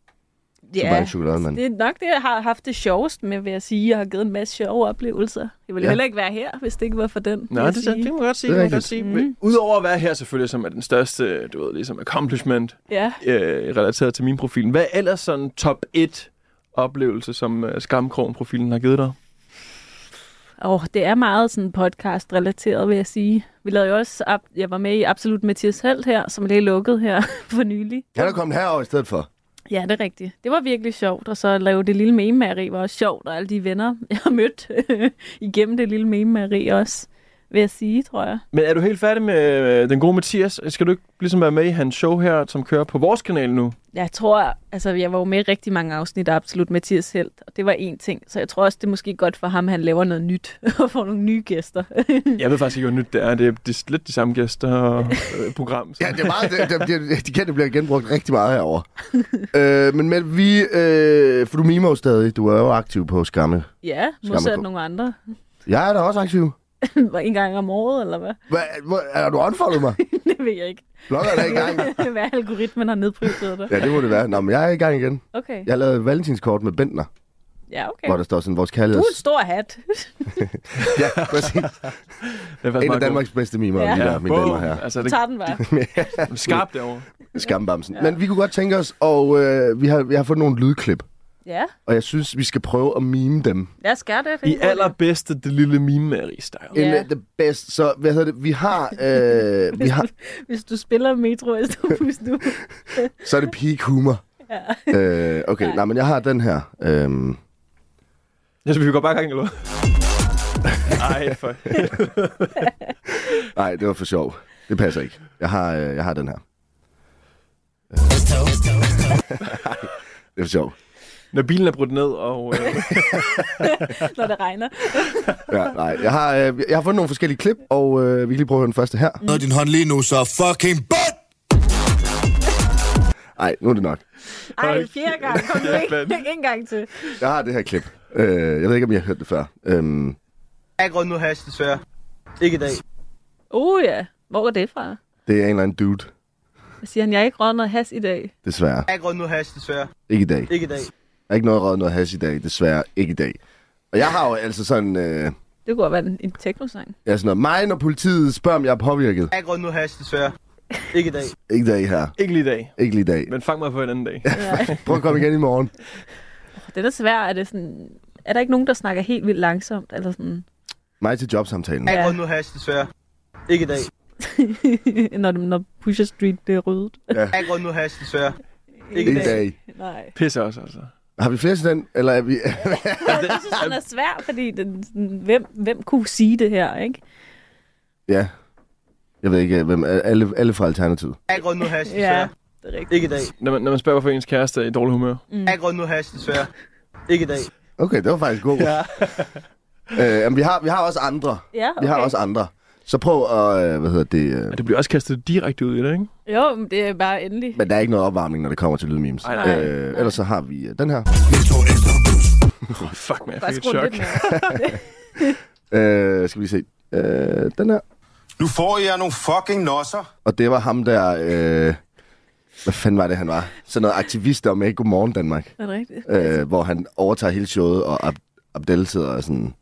S3: Ja. Mange chokolade, mand.
S5: det er nok det, jeg har haft det sjovest med, vil jeg sige. Jeg har givet en masse sjove oplevelser. Jeg ville
S3: Ja.
S5: ja. heller ikke være her, hvis det ikke var for den. vil
S4: Nej, det,
S5: jeg
S4: det,
S5: sige.
S4: det kan man godt sige.
S3: Det
S4: Det
S3: er
S4: man godt sige.
S5: rigtigt.
S4: Mm. Udover at være her selvfølgelig, som er den største, du ved, ligesom accomplishment
S5: Ja.
S4: øh, relateret til min profil. Hvad er ellers sådan top 1 oplevelse, som øh, Skamkrogen-profilen har givet dig?
S5: Og det er meget sådan podcast-relateret, vil jeg sige. Vi lavede jo også, ab- jeg var med i Absolut Mathias Helt her, som lige lukket her for nylig.
S3: Han er kommet herover i stedet for.
S5: Ja, det er rigtigt. Det var virkelig sjovt, og så at lave det lille mememageri var også sjovt, og alle de venner, jeg har mødt igennem det lille mememageri også, vil jeg sige, tror jeg.
S4: Men er du helt færdig med øh, den gode Mathias? Skal du ikke ligesom være med i hans show her, som kører på vores kanal nu?
S5: Jeg tror, altså jeg var jo med i rigtig mange afsnit af Absolut Mathias Helt, og det var en ting, så jeg tror også, det er måske godt for ham, at han laver noget nyt og får nogle nye gæster.
S4: Jeg ved faktisk ikke, hvor nyt det er. Det er, det er lidt de samme gæster og øh, program. Så.
S3: Ja, det er meget, det, det, det, de kendte bliver genbrugt rigtig meget herover. øh, men Mette, vi, øh, for du mimer jo stadig. Du er jo aktiv på Skamme.
S5: ja,
S3: Skammerko.
S5: modsat nogle andre.
S3: Jeg er da også aktiv.
S5: en gang om året, eller hvad?
S3: Hva, hvor, er du unfoldet mig?
S5: Det ved jeg ikke.
S3: Blogger er da i gang.
S5: Hvad algoritmen har nedprioriteret dig?
S3: Ja, det må det være. Nå, men jeg er i gang igen.
S5: Okay.
S3: Jeg har lavet et valentinskort med Bentner, okay.
S5: Ja, okay.
S3: hvor der står sådan, vores
S5: Du
S3: kærlighed.
S5: er en stor hat.
S3: Ja, præcis.
S4: det er faktisk
S3: En af
S4: meget
S3: Danmarks bedste mimer, ja.
S5: Ja.
S3: lige der, mine damer her.
S4: Altså,
S5: Du
S4: det
S5: tager den bare.
S4: er skarpt derovre.
S3: Skambamsen. Ja. Men vi kunne godt tænke os, og øh, vi, har, vi har fået nogle lydklip,
S5: Ja,
S3: og jeg synes, vi skal prøve at mime dem.
S5: lad os gøre det.
S4: I allerbedste det lille meme-style.
S3: Ja.
S5: Ja.
S3: In the best. Så, hvad hedder det? Vi har, øh, vi har
S5: Hvis du spiller Metro Estobus nu.
S3: så er det peak humor. Ja. Øh, okay, nej, men jeg har den her. Øhm,
S4: Jeg synes, vi går bare i gang, eller hvad? Ej, for...
S3: nej, det var for sjov. Det passer ikke. Jeg har, øh, jeg har den her. Det er for sjov.
S4: Når bilen er brudt ned, og... Øh,
S5: når det regner.
S3: Ja, nej. Jeg har, øh, jeg har fundet nogle forskellige klip, og øh, vi kan lige prøve at høre den første her.
S1: Nå, din hånd lige nu, så fucking butt!
S3: Nej, nu er det nok.
S5: Ej, fjerde gang. Kom nu
S4: mand.
S5: ikke. en gang til.
S3: Jeg har det her klip. Øh, jeg ved ikke, om jeg har hørt det før. Øhm,
S6: Jeg går nu hash, desværre. Ikke i dag.
S5: Uh ja, hvor er det fra?
S3: det er en eller anden dude,
S5: Hvad siger han? Jeg har ikke røget noget has i dag.
S3: desværre.
S6: Jeg går nu hash, desværre.
S3: Ikke i dag.
S6: Ikke i dag.
S3: Der er ikke noget røget noget hash i dag, desværre. Ikke i dag. Og jeg har jo altså sådan, øh,
S5: Det kunne godt være en, en teknosang.
S3: jeg er sådan noget, mig når politiet spørger, om jeg er påvirket.
S6: Jeg går nu hash, desværre. Ikke i dag.
S3: Ikke i dag her.
S4: ikke lige i dag,
S3: Ikke lige i dag.
S4: men fang mig på en anden dag.
S3: Prøv at komme igen i morgen.
S5: Den er svær. Er, det sådan, er der ikke nogen, der snakker helt vildt langsomt? Eller sådan,
S3: Mig til jobsamtalen.
S6: Jeg
S5: Ja.
S6: går nu hash, desværre. Ikke i dag.
S5: når, det- når Pusher Street det er ryddet?
S6: Jeg går nu hash, desværre.
S3: Ikke i dag.
S5: Nej.
S4: Pisser også, altså.
S3: Har vi flere til den? Eller er vi...
S5: Jeg synes, den er svær, fordi den, sådan, hvem, hvem kunne sige det her, ikke?
S3: ja. Jeg ved ikke, øh, hvem... Alle, alle fra Alternativet.
S6: Jeg går nu hash, desværre.
S5: det er rigtigt.
S6: Ikke i dag.
S4: Når man, når man spørger, hvorfor ens kæreste er i dårlig humør.
S5: Mm.
S6: Jeg går nu hash, desværre. Ikke i dag.
S3: Okay, det var faktisk god. Ja. øh, jamen, vi, har, vi har også andre.
S5: Ja, okay.
S3: Vi har også andre. Så prøv at... Øh, hvad hedder det? Øh,
S4: Og det bliver også kastet direkte ud i det, ikke?
S5: Jo, men det er bare endelig.
S3: men der er ikke noget opvarmning, når det kommer til lydmemes.
S4: Ej, nej.
S3: Øh, ellers så har vi øh, den her.
S1: Metro efter bus.
S3: Mm.
S4: Oh, fuck, man, jeg
S5: Bare
S4: fik et
S5: skru den
S4: chok.
S5: lidt mere.
S3: Øh, skal vi se. Øh, den her.
S7: Nu får jeg nogle fucking nosser.
S3: Og det var ham der... Øh, hvad fanden var det, han var? Sådan noget aktivister med Godmorgen Danmark.
S5: Er det rigtigt?
S3: øh, hvor han overtager hele showet, og Ab- Abdel sidder og sådan...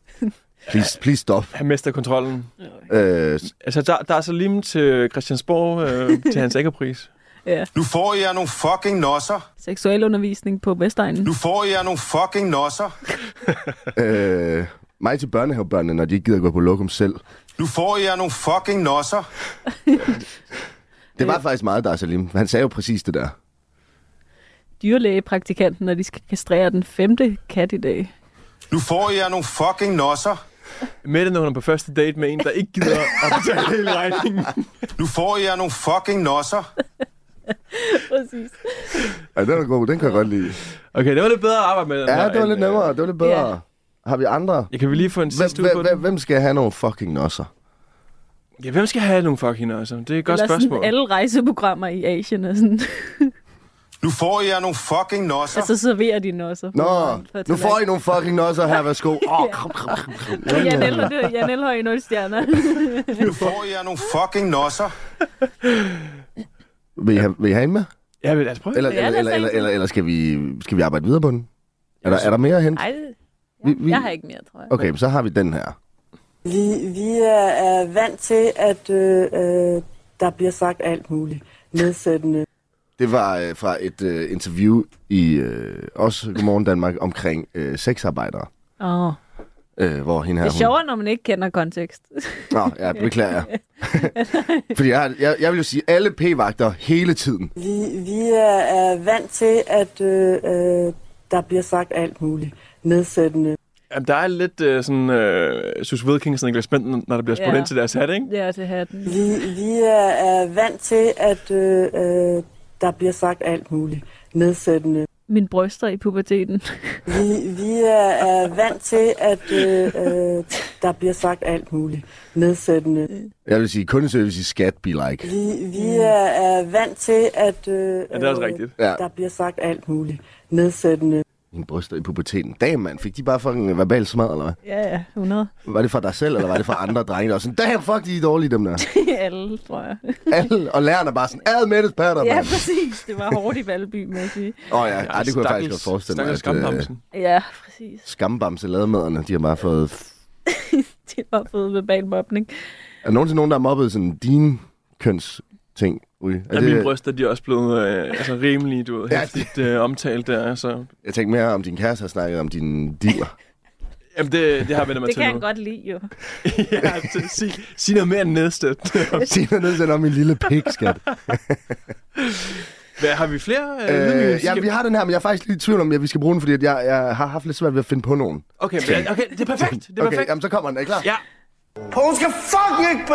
S3: Please, please stop.
S4: Han mister kontrollen.
S3: Øh, s-
S4: Altså, der, der er så lim til Christiansborg øh, til hans æggerpris.
S7: Nu får jeg nogle fucking nosser.
S5: Seksualundervisning på Vestegnen.
S7: Nu får jeg nogle fucking nosser.
S3: øh, mig til børnehavebørnene, når de ikke gider gå på lokum selv.
S7: Nu får jeg nogle fucking nosser.
S3: Det var faktisk meget der, Salim. Han sagde jo præcis det der.
S5: Dyrlægepraktikanten, når de skal kastrere den femte kat i dag.
S7: Nu får jeg nogle fucking nosser.
S4: Mette, når hun er på første date med en, der ikke gider at betale hele regningen.
S7: Nu får jeg nogle fucking nosser.
S5: Præcis.
S3: Ja, den er god. Den kan jeg godt lide.
S4: Okay, det var lidt bedre at arbejde med. den her
S3: Ja, det var
S4: end,
S3: lidt
S4: øh,
S3: nemmere. Det var lidt bedre.
S5: Ja.
S3: Har vi andre?
S4: Ja, kan vi lige få en
S3: Hvem,
S4: sidste ud på
S3: hvem, hvem,
S4: den?
S3: hvem skal have nogle fucking nosser?
S4: Ja, hvem skal have nogle fucking altså? Det er et godt
S5: Eller
S4: spørgsmål.
S5: sådan alle rejseprogrammer i Asien og sådan.
S7: Nu får jeg nogle fucking nosser.
S5: altså, så serverer de den også.
S3: Nå, nu får I nogle fucking nosser her. Værsgo. Åh, oh, kram, kram, kram, kram.
S5: Jan Elhøj, Jan Elhøj i 0 stjerner.
S7: Nu får jeg nogle fucking nosser.
S3: øh, Vil I have, vil I have en med?
S4: Ja, men lad os prøve.
S3: Eller,
S5: Ja,
S3: eller,
S5: lad os
S3: eller,
S5: have
S3: eller,
S5: en.
S3: eller, eller skal, vi, skal vi arbejde videre på den? Er der, er der mere hen?
S5: Nej,
S3: Vi, vi,
S5: jeg har ikke mere, tror jeg.
S3: Okay, så har vi den her.
S8: Vi, vi er, er vant til, at øh, øh, der bliver sagt alt muligt nedsættende.
S3: Det var øh, fra et øh, interview i øh, også Godmorgen Danmark omkring øh, sexarbejdere.
S5: Åh.
S3: Øh, hvor hende her,
S5: Det er sjovere, når man ikke kender kontekst.
S3: Hun... Nå, ja, beklager jeg. Fordi jeg, har- jeg, jeg vil jo sige, alle p-vagter hele tiden.
S8: Vi, vi er, er vant til, at øh, øh, der bliver sagt alt muligt nedsættende.
S4: Jamen, der er lidt øh, sådan, øh, Sus Wilkinson og Niklas Benten, når der bliver spurgt
S5: Ja.
S4: ind til deres hat, ikke?
S5: Ja, det hatten.
S8: Vi, vi er, er vant til, at øh, øh, der bliver sagt alt muligt nedsættende.
S5: Min bryster i puberteten.
S8: Vi, vi er, er vant til, at øh, øh, der bliver sagt alt muligt nedsættende.
S3: Jeg vil sige, kundeservice i skat be like.
S8: Vi, vi er, er vant til, at øh,
S4: Ja, det er også
S8: øh,
S4: rigtigt.
S3: Ja.
S8: der bliver sagt alt muligt nedsættende.
S3: Min bryster i puberteten. Damn, mand. Fik de bare fucking verbal smad, eller hvad?
S5: Ja, ja, 100.
S3: Var det fra dig selv, eller var det fra andre drenge, der var sådan, damn, fuck, de er dårlige, dem der.
S5: Alle, tror jeg.
S3: Alle, og lærerne bare sådan, ad med det patter,
S5: Ja,
S3: mand.
S5: præcis. Det var hårdt i Valby, må jeg sige.
S3: Åh oh, ja, Ej, det kunne jeg faktisk godt forestille mig. at,
S4: Stakkels
S3: øh,
S4: Skambamsen.
S5: Ja, præcis.
S3: skambamse lademaderne, de har bare fået...
S5: De har fået verbal mobning.
S3: Er der nogensinde nogen, der har mobbet sådan din køns ting? Ui, er
S4: Ja, mine bryster, de er også blevet øh, altså, rimelig, du ved,
S3: Ja,
S4: hæftigt øh, omtalt der. Så.
S3: Jeg tænkte mere om din kæreste har snakket om din dealer.
S4: Jamen, det, det har jeg vendt mig
S5: Det
S4: til
S5: kan
S4: nu.
S5: han godt lide, jo.
S4: ja, så sig, sig noget mere nedstødt.
S3: Sig mig noget sådan om min lille pik, skat.
S4: Hvad, har vi flere? Øh,
S3: øh, ja,
S4: lydnyheder?
S3: vi har den her, men jeg er faktisk lidt i tvivl om, at vi skal bruge den, fordi at jeg, jeg har haft lidt svært ved at finde på nogen.
S4: Okay, men, okay, det er perfekt. Det er
S3: Okay,
S4: perfekt.
S3: jamen, så kommer den. Er I klar?
S4: Ja,
S7: Hun skal fucking ikke...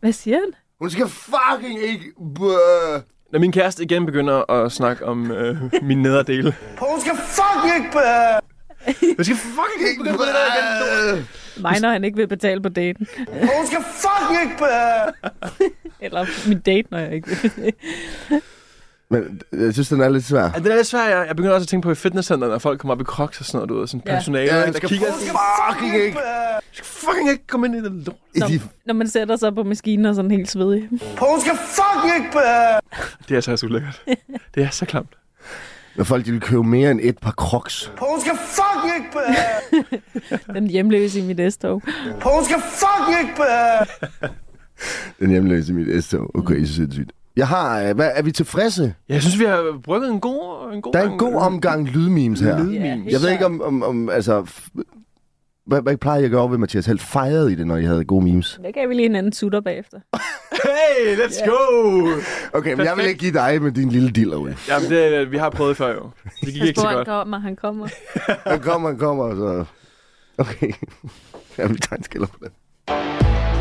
S5: Hvad siger han?
S3: Hun skal fucking ikke... Bøh.
S4: når min kæreste igen begynder at snakke om øh, min nederdele.
S7: Hun skal fucking ikke...
S4: Jeg skal fucking ikke begynde på det der igen.
S3: Bøh.
S5: Mig, når han ikke vil betale på daten.
S7: Hun skal fucking ikke...
S5: Eller min date, når jeg ikke vil betale.
S3: Men øh, jeg synes, den er lidt svær.
S4: Ja, det er lidt svært. Jeg, jeg begynder også at tænke på i fitnesscenter, når folk kommer op i crocs og sådan noget, du ved, sådan
S5: Ja.
S4: personale,
S3: Ja,
S4: ja,
S3: hun
S4: der
S3: skal
S4: kigger
S3: fucking ikke...
S4: fucking ikke komme ind i det lort.
S3: I de,
S5: Når man sætter sig på maskinen og sådan helt svedig.
S7: Hun skal fucking ikke...
S4: Det er altså også ulækkert. Det er så klamt.
S3: når folk de vil købe mere end et par crocs.
S7: Hun skal fucking ikke...
S5: Den hjemløse i mit S-tog.
S7: Hun skal fucking ikke...
S3: Den hjemløse i mit s Okay, så sindssygt. Jeg har... øh, Hvad, er vi tilfredse?
S4: Jeg synes, vi har brygget en god... En god
S3: Der er en god omgang lydmemes her.
S4: Lydmemes.
S3: Jeg ved ikke om... om, om altså, f- hvad, hvad plejer jeg at gøre ved Mathias Helt? Fejrede I det, når I havde gode memes?
S5: Der gav vi lige en anden sutter bagefter.
S4: Hey, let's go!
S3: Okay, men jeg vil
S4: Perfekt.
S3: ikke give dig med din lille diller, Ulle.
S4: Jamen, det, vi har prøvet før jo. Det gik ikke så
S5: Hvor han
S4: godt.
S5: kommer, han kommer.
S3: Han kommer, han kommer, og så... Okay. Jeg vil tage en skiller på den.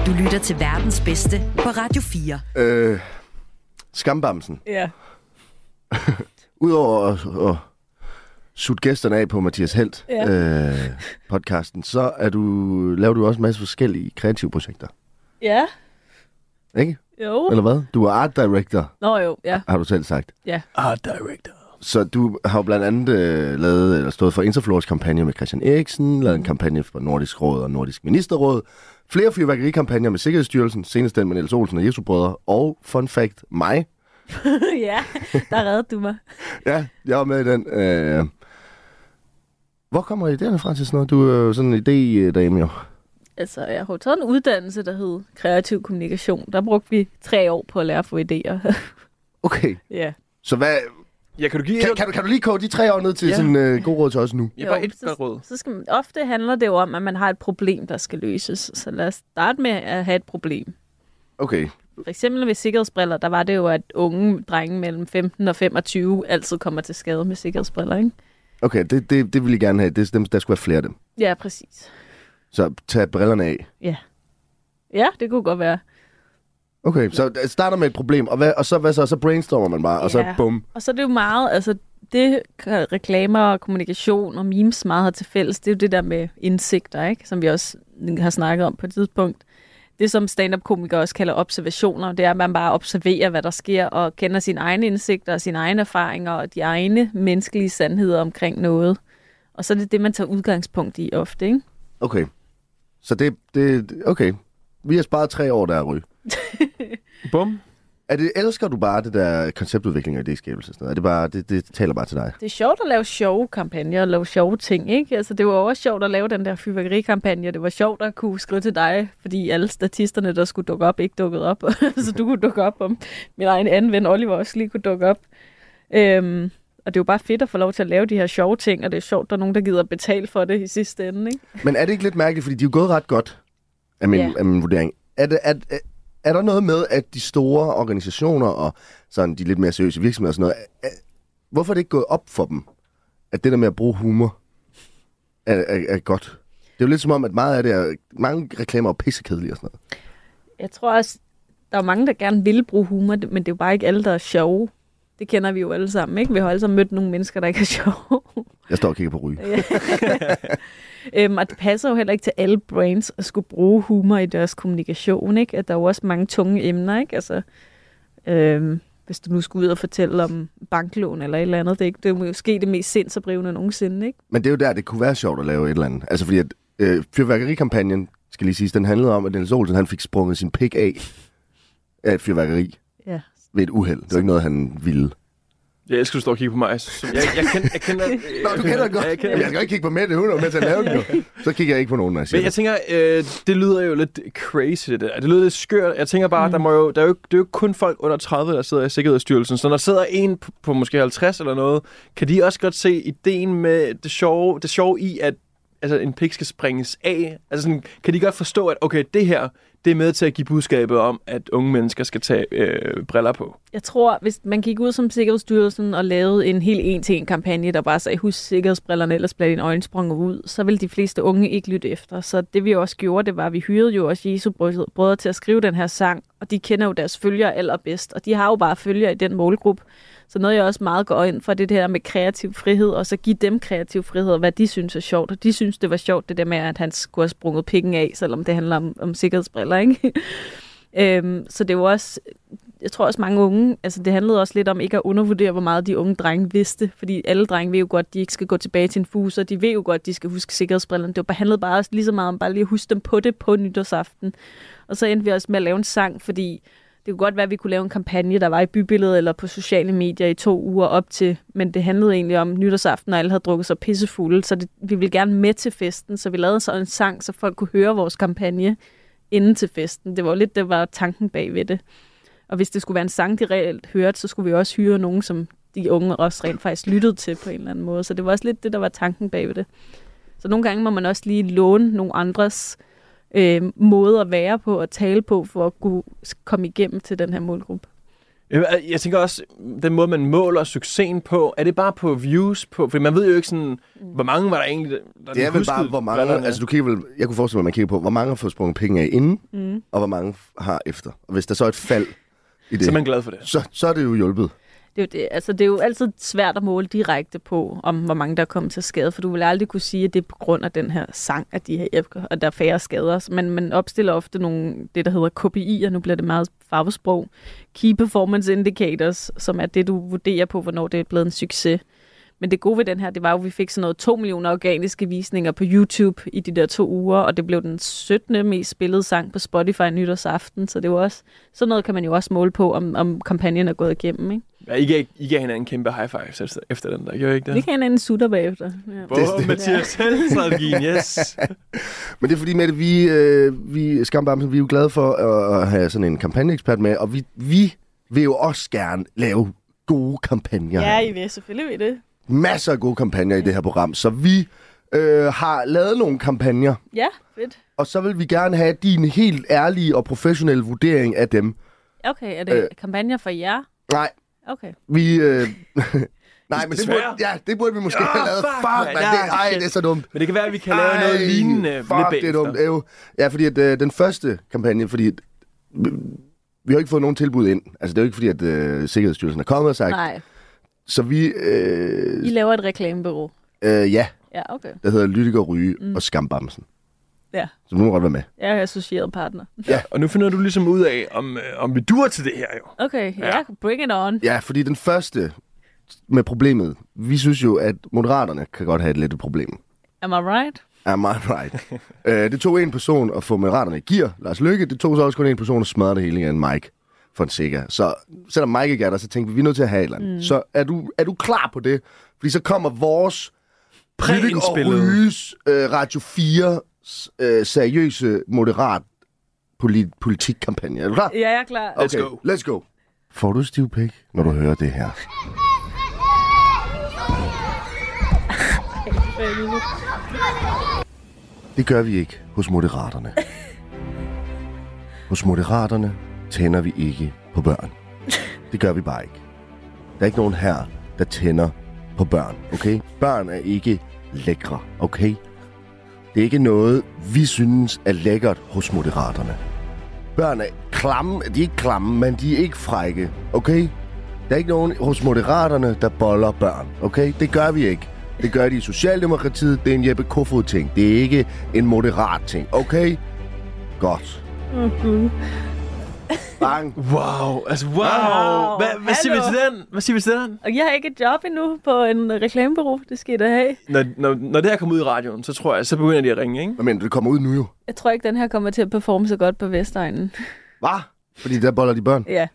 S2: Du lytter til verdens bedste på Radio 4.
S3: Øh, skambamsen.
S5: Ja.
S3: Udover at, at sutte gæsterne af på Mathias Helt
S5: Ja.
S3: øh, podcasten, så er du, laver du også en masse forskellige kreative projekter.
S5: Ja.
S3: Ikke?
S5: Jo.
S3: Eller hvad? Du er art director,
S5: Nå jo, ja.
S3: har du selv sagt.
S4: Art director.
S3: Så du har jo blandt andet øh, lavet, eller stået for Interflores kampagne med Christian Eriksen, lavet en kampagne for Nordisk Råd og Nordisk Ministerråd, flere fyrværkerikampagner med Sikkerhedsstyrelsen, senest den med Niels Olsen og Jesu Brødre, og fun fact, mig.
S5: ja, der reddede du mig.
S3: Ja, jeg var med i den. Øh, Hvor kommer idéerne fra til sådan noget? Du er jo sådan en idé-dame, jo.
S5: Altså, jeg har jo taget en uddannelse, der hed kreativ kommunikation. Der brugte vi tre år på at lære at få idéer.
S3: Okay,
S5: ja.
S3: så hvad...
S4: Ja, kan du give
S3: Kan, kan, du, kan du lige koge de tre år ned til
S4: Ja.
S3: ja. sådan øh, god råd til os nu?
S4: Ja, bare et
S5: så,
S4: godt råd.
S5: Så skal man, ofte handler det jo om, at man har et problem, der skal løses. Så lad os starte med at have et problem.
S3: Okay.
S5: For eksempel ved sikkerhedsbriller, der var det jo, at unge drenge mellem 15 og 25 altid kommer til skade med sikkerhedsbriller, ikke?
S3: Okay, det, det, det vil jeg gerne have. Det, dem, der skulle være flere af dem.
S5: Ja, præcis.
S3: Så tag brillerne af.
S5: Ja, det kunne godt være.
S3: Okay, så det starter med et problem, og, hvad, og så, hvad så, så brainstormer man bare, og så
S5: Ja.
S3: bum.
S5: Og så er det jo meget, altså det kan reklamer og kommunikation og memes meget har til fælles, det er jo det der med indsigter, ikke? som vi også har snakket om på et tidspunkt. Det, som stand-up-komikere også kalder observationer, det er, at man bare observerer, hvad der sker, og kender sine egne indsigter og sine egne erfaringer og de egne menneskelige sandheder omkring noget. Og så er det det, man tager udgangspunkt i ofte, ikke?
S3: Okay. Så det, det, okay. Vi har sparet tre år, der er ryge.
S4: Bum.
S3: Er det, elsker du bare det der konceptudvikling og idéskabelse og sådan noget? Er det bare, det, det taler bare til dig?
S5: Det er sjovt at lave sjove kampagner og lave sjove ting, ikke? Altså, det var jo også sjovt at lave den der fyrværkerikampagne. Det var sjovt at kunne skrive til dig, fordi alle statisterne, der skulle dukke op, ikke dukkede op. så du kunne dukke op, om min egen anden ven Oliver også lige kunne dukke op. Øhm, og det er jo bare fedt at få lov til at lave de her sjove ting, og det er sjovt, der er nogen, der gider betale for det i sidste ende, ikke?
S3: Men er det ikke lidt mærkeligt, fordi de er jo gået ret godt af min,
S5: Ja.
S3: yeah. af min vurdering. Er, det, er, er- er der noget med, at de store organisationer og sådan de lidt mere seriøse virksomheder og sådan noget, er, er, hvorfor er det ikke gået op for dem, at det der med at bruge humor er, er, er godt? Det er jo lidt som om, at meget af det er, mange reklamer er pissekedelige og sådan noget.
S5: Jeg tror også, der er jo mange, der gerne vil bruge humor, men det er jo bare ikke alle, der er sjove. Det kender vi jo alle sammen, ikke? Vi har jo alle sammen mødt nogle mennesker, der ikke er sjove.
S3: Jeg står og kigger på ryge.
S5: Øhm, og det passer jo heller ikke til alle brands at skulle bruge humor i deres kommunikation, ikke? At der er jo også mange tunge emner, ikke? Altså, øhm, hvis du nu skulle ud og fortælle om banklån eller et eller andet, det er, ikke, det er måske det mest sindsoprivende nogensinde, ikke?
S3: Men det er jo der, det kunne være sjovt at lave et eller andet. Altså fordi, at øh, fyrværkerikampagnen, skal lige sige, den handlede om, at Niels Olsen, han fik sprunget sin pik af af et fyrværkeri
S5: Ja.
S3: ved et uheld. Det var ikke noget, han ville.
S4: Jeg elsker, at du står og kigger på mig. Som, jeg, jeg, kender, jeg kender...
S3: Nå, du kender det godt.
S4: Ja,
S3: Jeg,
S4: jeg kender
S3: jeg
S4: det.
S3: skal ikke kigge på Mette, hun er jo med til at lave den jo. Så kigger jeg ikke på nogen, når jeg siger
S4: Men jeg
S3: det.
S4: tænker, øh, det lyder jo lidt crazy, det der. Det lyder lidt skørt. Jeg tænker bare, mm. der, må jo, der er jo, ikke- det er jo ikke kun folk under 30, der sidder i Sikkerhedsstyrelsen. Så når der sidder en på, på måske 50 eller noget, kan de også godt se ideen med det sjove, det sjove i, at altså, en pik skal springes af. Altså, sådan, kan de godt forstå, at okay, det her, det er med til at give budskabet om, at unge mennesker skal tage øh, briller på.
S5: Jeg tror, hvis man gik ud som Sikkerhedsstyrelsen og lavede en helt en-til-en kampagne, der bare sagde, husk sikkerhedsbrillerne, ellers bliver dine øjne sprunget ud, så ville de fleste unge ikke lytte efter. Så det vi også gjorde, det var, at vi hyrede jo også Jesu brød- brødre til at skrive den her sang, og de kender jo deres følgere allerbedst, og de har jo bare følgere i den målgruppe. Så noget, jeg også meget går ind for, det er det her med kreativ frihed, og så give dem kreativ frihed, og hvad de synes er sjovt. Og de synes, det var sjovt, det der med, at han skulle have sprunget pikken af, selvom det handler om, om sikkerhedsbriller, ikke? øhm, så det er jo også jeg tror også mange unge, altså det handlede også lidt om ikke at undervurdere, hvor meget de unge drenge vidste, fordi alle drenge ved jo godt, at de ikke skal gå tilbage til en fuser, de ved jo godt, at de skal huske sikkerhedsbrillerne. Det var handlede bare også lige så meget om bare lige at huske dem på det på nytårsaften. Og så endte vi også med at lave en sang, fordi det kunne godt være, at vi kunne lave en kampagne, der var i bybilledet eller på sociale medier i to uger op til, men det handlede egentlig om nytårsaften, og alle havde drukket sig pissefulde, så det, vi ville gerne med til festen, så vi lavede så en sang, så folk kunne høre vores kampagne inden til festen. Det var jo lidt, det var tanken bag ved det. Og hvis det skulle være en sang, de reelt hørte, så skulle vi også hyre nogen, som de unge også rent faktisk lyttede til på en eller anden måde. Så det var også lidt det, der var tanken bagved det. Så nogle gange må man også lige låne nogle andres øh, måde at være på og tale på, for at kunne s- komme igennem til den her målgruppe.
S4: Jamen, al- Jeg tænker også, den måde, man måler succesen på, er det bare på views på? For man ved jo ikke sådan, hvor mange var der egentlig, der- der
S3: Det er vel
S4: huskede
S3: bare, hvor mange...
S4: brillerne.
S3: Altså, du kigger vel, jeg kunne forestille mig, at man kigger på, hvor mange har fået sprunget penge af inden, mm. og hvor mange har efter. Og hvis der så er et fald i det,
S4: Så
S3: så,
S4: er man glad for det.
S3: så, så er det jo hjulpet.
S5: Det er, jo det. Altså, det er jo altid svært at måle direkte på, om hvor mange der er kommet til skade, for du vil aldrig kunne sige, at det er på grund af den her sang, at de her æbler, og der er færre skader. Så Man, man opstiller ofte nogle, det der hedder KPI'er, nu bliver det meget farvesprog, Key Performance Indicators, som er det, du vurderer på, hvornår det er blevet en succes. Men det gode ved den her, det var jo, at vi fik sådan noget 2 millioner organiske visninger på YouTube i de der to uger, og det blev den 17. mest spillede sang på Spotify nytårsaften, så det var også, sådan noget kan man jo også måle på, om, om kampagnen er gået igennem, ikke?
S4: Ja, I, gav, I gav hinanden en kæmpe high five efter, efter den der, gjorde I ikke det?
S5: Ja. Vi kan hinanden sutter bagefter. Ja.
S4: Både Mathias Selv-strategien, yes.
S3: Men det er fordi, Mette, vi, øh, vi Skambamsen, vi er jo glade for at, at have sådan en kampagneekspert med, og vi, vi vil jo også gerne lave gode kampagner.
S5: ja, I vil selvfølgelig ved det.
S3: Masser af gode kampagner i det her program, så vi øh, har lavet nogle kampagner,
S5: Ja, fedt.
S3: og så vil vi gerne have din helt ærlige og professionelle vurdering af dem.
S5: Okay, er det øh. kampagner for jer?
S3: Nej,
S5: Okay.
S3: vi... Øh, Nej, men det burde,
S4: Desværre.
S3: ja, det burde vi måske
S4: Ja,
S3: have lavet.
S4: fuck,
S3: Fuck,
S4: mand.
S3: man, det,
S4: Nej,
S3: ej,
S4: shit.
S3: det er så dumt.
S4: Men det kan være, at vi kan lave noget lignende lidt
S3: fuck, det er
S4: bagefter.
S3: dumt. Ew. Ja, fordi at, øh, den første kampagne, fordi at, vi- vi har jo ikke fået nogen tilbud ind. Altså, det er jo ikke fordi, at øh, Sikkerhedsstyrelsen er kommet og sagt.
S5: Nej,
S3: Så vi, øh,
S5: I laver et reklamebureau.
S3: øh, ja,
S5: Ja, okay.
S3: der hedder Lytiker Ryge mm. og Skambamsen.
S5: Ja.
S3: Så nu må du godt være med.
S5: Jeg er associeret partner.
S4: Og nu finder du ligesom ud af, om, øh, om vi dur til det her jo.
S5: Okay, ja.
S4: Ja.
S5: ja. bring it on.
S3: Ja, fordi den første med problemet, vi synes jo, at moderaterne kan godt have et lidt et problem.
S5: Am I right?
S3: Am I right? øh, det tog en person at få moderaterne i gear, Lars Lykke. Det tog så også kun en person at smadre det hele igen, Mike Fonseca. Så selvom Mike ikke er der, så tænkte vi, vi er nødt til at have et eller andet. Mm. Så er du, er du klar på det? Fordi så kommer vores Lytik og
S4: Præindspillede.
S3: Ryges øh, Radio 4 øh, seriøse moderat polit- politikkampagne. Er du klar?
S5: Ja, jeg er klar.
S3: Okay,
S4: go.
S3: let's go. Får du stiv pik, når du hører det her? Det gør vi ikke hos moderaterne. Hos moderaterne tænder vi ikke på børn. Det gør vi bare ikke. Der er ikke nogen her, der tænder på børn, okay? Børn er ikke lækre, okay? Det er ikke noget, vi synes er lækkert hos moderaterne. Børn er klamme. De er ikke klamme, men de er ikke frække, okay? Der er ikke nogen hos moderaterne, der boller børn, okay? Det gør vi ikke. Det gør de i Socialdemokratiet. Det er en Jeppe Kofod-ting. Det er ikke en moderat-ting, okay? Godt. Åh, oh, Gud. Bang.
S4: Wow, altså wow.
S5: Wow,
S4: Hvad, hvad siger vi
S5: hallo.
S4: til den? Hvad siger vi til den?
S5: Og jeg har ikke et job endnu på en reklamebureau. Det skal I da have.
S4: Når, når, når det her kommer ud i radioen, så tror jeg, så begynder de at ringe, ikke?
S3: Hvad mener du, det kommer ud nu jo?
S5: Jeg tror ikke, den her kommer til at performe så godt på Vestegnen.
S3: Hvad? Fordi der boller de børn.
S5: Ja.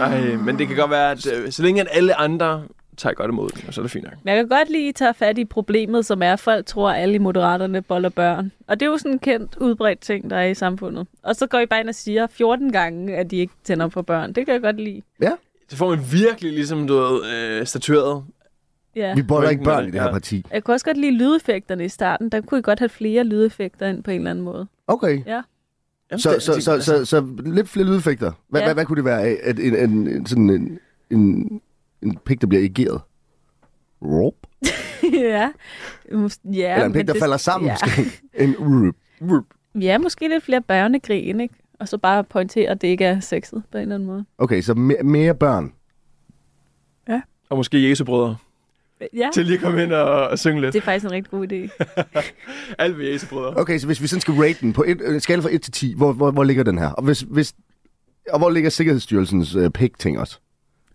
S4: Ej, men det kan godt være, at øh, så længe at alle andre tager godt imod den, så er det fint nok.
S5: Men jeg kan godt lige tage fat i problemet, som er, at folk tror, at alle i moderaterne boller børn. Og det er jo sådan en kendt, udbredt ting, der er i samfundet. Og så går I bare ind og siger 14 gange, at de ikke tænder på børn. Det kan jeg godt lide.
S4: Så får man virkelig ligesom, du ved, øh, statueret.
S5: Ja.
S3: Vi boller ikke børn i det her
S4: Ja.
S3: parti.
S5: Jeg kunne også godt lide lydeffekterne i starten. Der kunne I godt have flere lydeffekter ind på en eller anden måde.
S3: Okay.
S4: Jamen,
S3: Så,
S4: det-
S3: så,
S4: det-
S3: så,
S4: altså,
S3: så, så lidt flere lydeffekter. Hvad,
S5: Ja.
S3: hvad, hvad kunne det være af at en, en, en, sådan en, en, en pik, der bliver ageret? Rope.
S5: ja. ja.
S3: Eller en
S5: men
S3: pik, der
S5: det-
S3: falder sammen
S5: Ja.
S3: måske. En roop. roop.
S5: ja, måske lidt flere børnegrin, ikke? Og så bare pointere, at det ikke er sexet på en eller anden måde.
S3: Okay, så me- mere børn.
S4: Og måske Jesu brødre.
S5: Ja,
S4: Til lige at komme ind og, og synge lidt.
S5: det er faktisk en rigtig god idé.
S4: Alt ved Jesu brødre.
S3: Okay, så hvis vi sådan skal rate den på et, øh, skala fra 1 til 10, hvor, hvor, hvor ligger den her? Og, hvis, hvis, og hvor ligger Sikkerhedsstyrelsens øh, pik-ting også?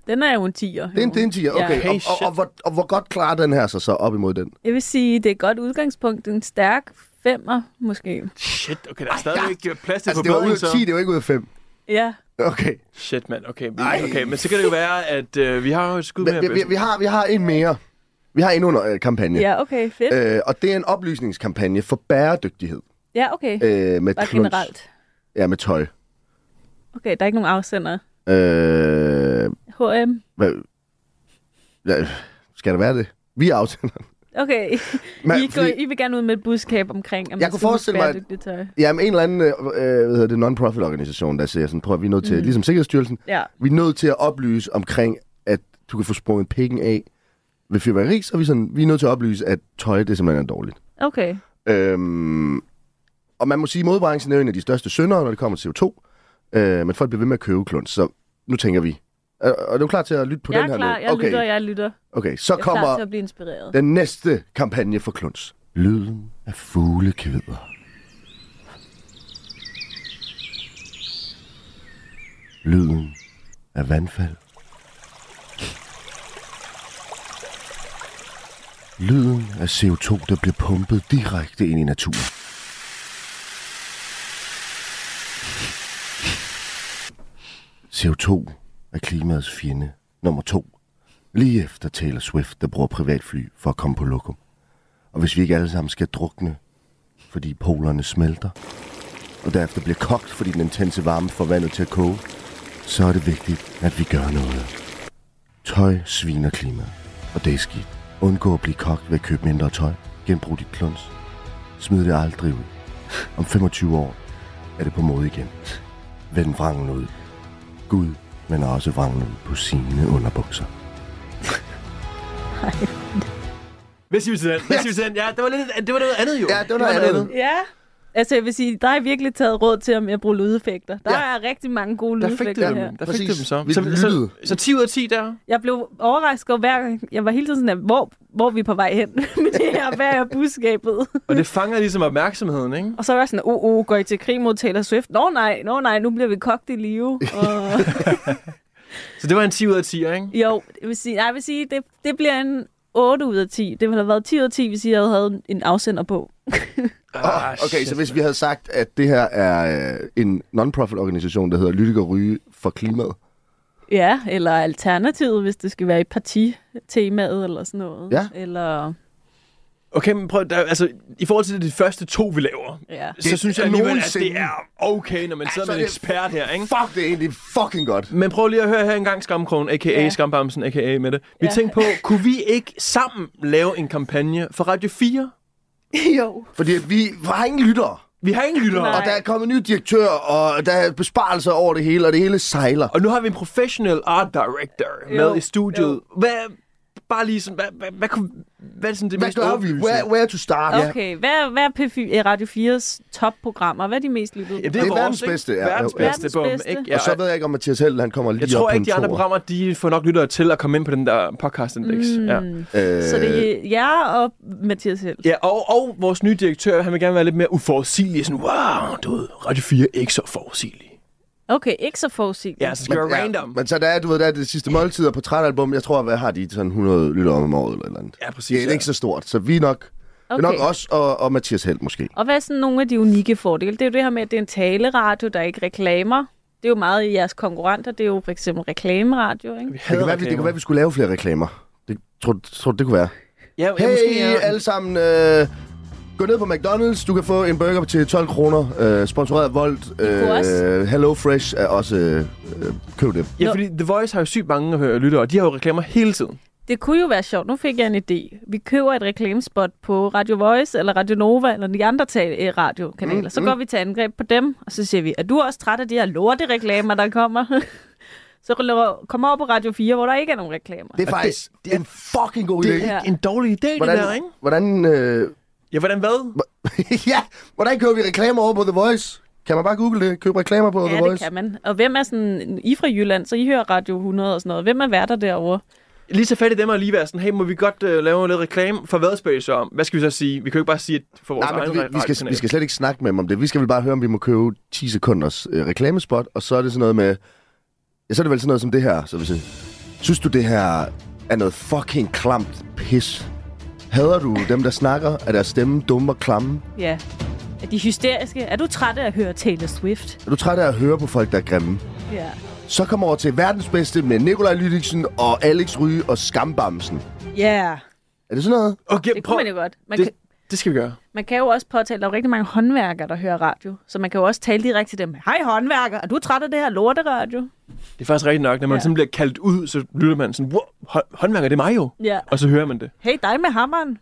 S5: Den er jo en 10'er.
S3: Det er en, det er en 10, okay.
S5: Ja.
S3: og, og, og, og, hvor, og hvor godt klarer den her sig så op imod den?
S5: Jeg vil sige, det er et godt udgangspunkt. Det er En stærk femmer, måske.
S4: Shit, okay, der er stadigvæk ja. plads til
S3: Altså, det var ud
S4: forbedring,
S3: af 10, det var ikke ud af 5.
S5: Ja,
S3: Okay,
S4: Shit, mand. Okay, vi,
S3: Ej.
S4: okay, men så kan det jo være, at øh, vi har jo et skud
S3: men,
S4: mere.
S3: vi, vi, vi, har, vi har en mere. Vi har en under øh, kampagne.
S5: ja okay, fedt.
S3: Øh, og det er en oplysningskampagne for bæredygtighed.
S5: Ja, okay.
S3: Øh, med
S5: Bare
S3: kluns.
S5: generelt.
S3: Ja, med tøj.
S5: Okay, der er ikke nogen afsender.
S3: Øh,
S5: H&M.
S3: hvad, ja, skal der være det? Vi er afsenderen.
S5: Okay,
S3: Men,
S5: I, går, I vil gerne ud med et budskab omkring, om
S3: Jeg
S5: man
S3: kunne
S5: skal huske
S3: forestille mig, at-
S5: bæredygtigt tøj.
S3: Jamen, en eller anden øh, øh, hvad hedder det, non-profit organisation, der siger sådan, prøv at vi er nødt til, mm. ligesom Sikkerhedsstyrelsen,
S5: Ja.
S3: vi er nødt til at oplyse omkring, at du kan få sprunget pikken af ved fyrværkeri, så er vi, sådan, vi er nødt til at oplyse, at tøj, det simpelthen er dårligt.
S5: Okay,
S3: Øhm, og man må sige, at modbranchen er jo en af de største syndere, når det kommer til CO2, øh, men folk bliver ved med at købe klunds, så nu tænker vi. Er, er du klar til at lytte på
S5: jeg
S3: den
S5: er
S3: her
S5: klar.
S3: nu?
S5: Jeg
S3: okay.
S5: lytter, jeg lytter.
S3: okay, så
S5: Jeg er
S3: kommer...
S5: klar til at blive inspireret.
S3: Den næste kampagne for Klunds. Lyden af fuglekvider. Lyden af vandfald. Lyden af CO2, der bliver pumpet direkte ind i naturen. CO2 er klimaets fjende nummer to. Lige efter Taylor Swift, der bruger privatfly for at komme på lokum. Og hvis vi ikke alle sammen skal drukne, fordi polerne smelter, og derefter bliver kogt, fordi den intense varme får vandet til at koge, så er det vigtigt, at vi gør noget. Tøj sviner klimaet, og det er skidt. Undgå at blive kogt ved at købe mindre tøj. Genbrug dit kluns. Smid det aldrig ud. Om 25 år er det på mode igen. Vend vrangen ud. Gud vender også vrangen ud på sine underbukser.
S4: Hvad siger vi til den? Hvad siger vi til den? Ja, det var, lidt, det var noget andet jo.
S3: Ja, det var noget andet.
S5: Ja. Altså, jeg vil sige, der er virkelig taget råd til, om jeg bruger lydeffekter. Der
S3: Ja.
S5: er rigtig mange gode
S4: Der fik
S5: lydeffekter
S4: det
S5: her.
S4: dem. Der fik
S3: Præcis.
S4: det dem så.
S3: Vi
S4: så, så,
S3: lyttede.
S4: så 10 ud af 10 der.
S5: Jeg blev overrasket over hver gang. Jeg var hele tiden sådan, at, hvor, hvor er vi på vej hen med det her? Hvad er budskabet?
S4: Og det fanger ligesom opmærksomheden, ikke?
S5: Og så var jeg sådan, oh, oh, går I til krig mod Taylor Swift? Nå nej, nå nej, nu bliver vi kogt i live. Og,
S4: Så det var en 10 ud af 10, ikke?
S5: jo, jeg vil sige, nej, jeg vil sige det, det bliver en 8 ud af 10. Det ville have været 10 ud af 10, hvis I havde havde en afsender på.
S4: Ah,
S3: Okay,
S4: shit,
S3: så hvis vi havde sagt, at det her er øh, en non-profit organisation, der hedder Lytik og Ryge for Klimaet.
S5: Ja, eller alternativet, hvis det skal være i partitemaet eller sådan noget.
S3: Ja.
S5: Eller,
S4: Okay, men prøv, der, altså, i forhold til de første to, vi laver,
S5: ja.
S4: så
S3: Det
S4: synes jeg
S3: er
S4: alligevel, at det
S3: nogensinde-
S4: er okay, når man sidder
S3: Altså,
S4: med en
S3: det-
S4: ekspert her, ikke?
S3: Fuck, det er egentlig fucking godt.
S4: Men prøv lige at høre her engang, Skamkrogen, a.k.a.
S5: Ja.
S4: Ja. Skambamsen, a.k.a. Mette. Vi
S5: Ja.
S4: tænkte på, kunne vi ikke sammen lave en kampagne for Radio 4?
S5: jo.
S3: Fordi at vi har ingen lyttere.
S4: Vi har ingen lyttere.
S5: Nej.
S3: Og der er kommet en ny direktør, og der er besparelser over det hele, og det hele sejler.
S4: Og nu har vi en professional art director
S5: Jo,
S4: jo, med i studiet. Jo. Hvad, bare lige sådan, hvad, hvad, hvad, kunne, hvad er sådan det
S3: Hvad
S4: mest
S3: gør vi?
S4: overbevisende?
S3: Where, where to start?
S5: Okay, hvad, er- hvad er P4, eh, Radio 4's topprogrammer? Hvad er de mest lyttede?
S4: Ja,
S5: Ja,
S4: det, er
S3: Det er
S4: vores,
S3: verdens
S4: ikke?
S3: bedste, ja.
S4: Verdens
S3: Jo, ja.
S4: bedste, bum,
S5: Verdens bedste.
S4: ikke? Ja,
S3: Og så ved jeg ikke, om Mathias Held, han kommer lige
S4: jeg
S3: op
S4: tror
S3: på
S4: ikke,
S3: en
S4: de andre
S3: toer.
S4: programmer, de får nok lyttere til at komme ind på den der podcastindeks. Mm. Ja.
S3: Øh,
S5: Så det er jer og Mathias Held.
S4: Ja, og, og vores nye direktør, han vil gerne være lidt mere uforudsigelig. Sådan, wow, du ved, Radio 4 er ikke så forudsigelig.
S5: Okay, ikke så forudsigeligt.
S4: Ja, så skal det være random.
S3: Ja, men så der er, du ved, der er det sidste måltid og portrætalbum. Jeg tror, hvad har de? Sådan 100 lytter om året eller et eller andet.
S4: Ja, præcis,
S3: Det er
S4: ja.
S3: ikke så stort, så vi er nok... Okay. Det er
S5: Okay.
S3: nok os og, og Mathias Held måske.
S5: Og hvad er sådan nogle af de unikke fordele? Det er jo det her med, at det er en taleradio, der ikke reklamer. Det er jo meget i jeres konkurrenter. Det er jo for eksempel reklameradio, ikke?
S4: Vi
S3: Det
S4: hader
S3: kan, være, vi, det kan være, vi skulle lave flere reklamer. Det tror, du- tror du, det kunne være.
S4: Ja,
S3: Hey,
S4: ja, måske, ja.
S3: alle sammen. Øh, gå ned på McDonald's. Du kan få en burger til 12 kroner. Øh, sponsoreret af Volt.
S5: også-
S3: Øh, Hello Fresh er også... Øh, øh, køb det.
S4: ja, fordi The Voice har jo sygt mange øh, lyttere, og de har jo reklamer hele tiden.
S5: Det kunne jo være sjovt. Nu fik jeg en idé. Vi køber et reklamespot på Radio Voice, eller Radio Nova, eller de andre tal- eh, radiokanaler. så går vi til angreb på dem, og så siger vi, er du også træt af de her lorte reklamer, der kommer? så lo- kom over på Radio 4, hvor der ikke er nogen reklamer.
S3: Det er faktisk det, det er en fucking god idé.
S5: er- Ja.
S4: En dårlig idé, det der,
S3: Hvordan,
S4: ikke?
S3: hvordan, øh,
S4: Ja, hvordan hvad?
S3: ja, hvordan køber vi reklamer over på The Voice? Kan man bare google det? Købe reklamer på The
S5: Ja, det
S3: Voice?
S5: kan man. Og hvem er sådan... I er fra Jylland, så I hører Radio 100 og sådan noget. Hvem er værter derovre?
S4: lige tage fat i dem og lige være sådan, hey, må vi godt øh, lave lidt reklame? For hvad spørger I så om? Hvad skal vi så sige? Vi kan jo ikke bare sige, at for vores
S3: Nej, men
S4: egen
S3: vi, vi, skal,
S4: radiokanal.
S3: vi skal slet ikke snakke med dem om det. Vi skal vel bare høre, om vi må købe 10 sekunders øh, reklamespot, og så er det sådan noget med... Ja, så er det vel sådan noget som det her. Så hvis jeg, synes du, det her er noget fucking klamt pis? Hader du dem, der snakker? Er deres stemme dumme og klamme?
S5: Ja. Er de hysteriske? Er du træt af at høre Taylor Swift?
S3: Er du træt af at høre på folk, der er grimme?
S5: Ja.
S3: Så kom over til verdens bedste med Nikolaj Lydiksen og Alex Ryge og Skambamsen.
S5: Ja.
S3: Er det sådan noget?
S4: Okay,
S5: Det
S4: prøv,
S5: kunne man jo godt. Man, det...
S4: det,
S5: kan,
S4: det skal vi gøre.
S5: man kan jo også påtale, at der er jo rigtig mange håndværkere, der hører radio. Så man kan jo også tale direkte til dem. Hej håndværker, er du træt af det her lorteradio?
S4: Det er faktisk rigtigt nok. Når man
S5: Ja.
S4: ja. sådan bliver kaldt ud, så lytter man sådan, wow, hå- håndværker, det er mig jo.
S5: Ja.
S4: Og så hører man det.
S5: Hey, dig med hammeren.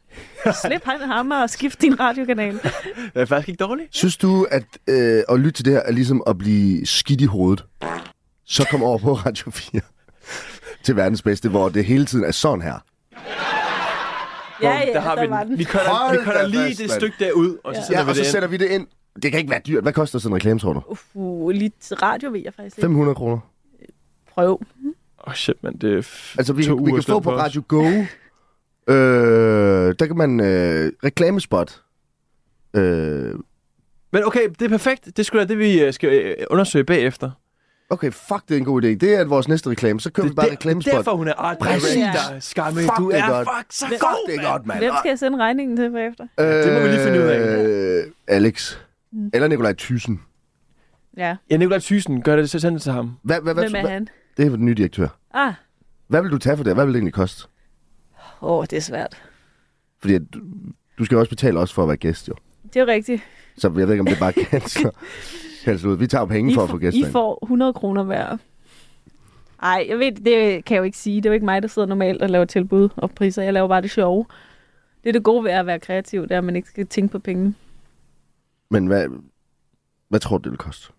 S5: Slip han hammer og skift din radiokanal.
S4: Det er faktisk ikke dårligt.
S3: Synes du, at øh, at lytte til det her er ligesom at blive skidt i hovedet? Så kom over på Radio 4 til verdens bedste, hvor det hele tiden er sådan her.
S5: ja,
S4: Bum,
S5: ja,
S4: der har vi
S5: var
S4: den. Vi kører,
S3: Hold
S4: vi kører
S3: da
S4: lige
S3: fast,
S4: det
S3: mand.
S4: stykke derud, og så
S5: Ja.
S4: sender
S3: Ja,
S4: vi
S3: og så
S4: det ind.
S3: sætter vi det ind. Det kan ikke være dyrt. Hvad koster sådan en reklame, tror du?
S5: Uff, uh, lidt radio vil jeg faktisk ikke
S3: 500 kroner.
S5: prøve.
S4: Åh, oh, shit, mand. Det er f-
S3: Altså, vi,
S4: to
S3: vi
S4: uger
S3: kan få
S4: slået
S3: på
S4: os.
S3: Radio Go. Øh, der kan man øh, reklamespot. Øh,
S4: Men okay, det er perfekt. Det skulle da det, vi øh, skal øh, undersøge øh, bagefter.
S3: Okay, fuck, det er en god idé. Det er vores næste reklame. Så kører vi bare
S4: det, det,
S3: reklamespot.
S4: derfor, hun er art
S3: Præcis.
S4: director, skamme.
S3: Fuck,
S4: Du
S3: det er
S4: er
S3: godt.
S4: fuck så
S5: Hvem-
S4: god,
S3: Fuck, det er godt, mand.
S5: Hvem skal jeg sende regningen til bagefter?
S3: Øh,
S4: det må vi lige finde ud af.
S3: Øh, Alex. Eller Nikolaj Thyssen.
S5: Ja,
S4: Ja, Nikolaj Thyssen, gør det, så send det til ham.
S3: Hvad, hvad, hvad,
S5: hvem er han?
S3: Det er den nye direktør.
S5: Ah,
S3: Hvad vil du tage for det? Hvad vil det egentlig koste?
S5: åh, oh, det er svært.
S3: Fordi at du, du skal jo også betale os for at være gæst, jo.
S5: Det er jo rigtigt.
S3: Så jeg ved ikke, om det bare kan så, kan så ud. Vi tager jo penge for at få
S5: I
S3: gæster ind.
S5: får 100 kroner hver. Ej, jeg ved, det kan jeg jo ikke sige. Det er jo ikke mig, der sidder normalt og laver tilbud og priser. Jeg laver bare det sjove. Det er det gode ved at være kreativ, det er, at man ikke skal tænke på penge.
S3: Men hvad, hvad tror du, det vil koste?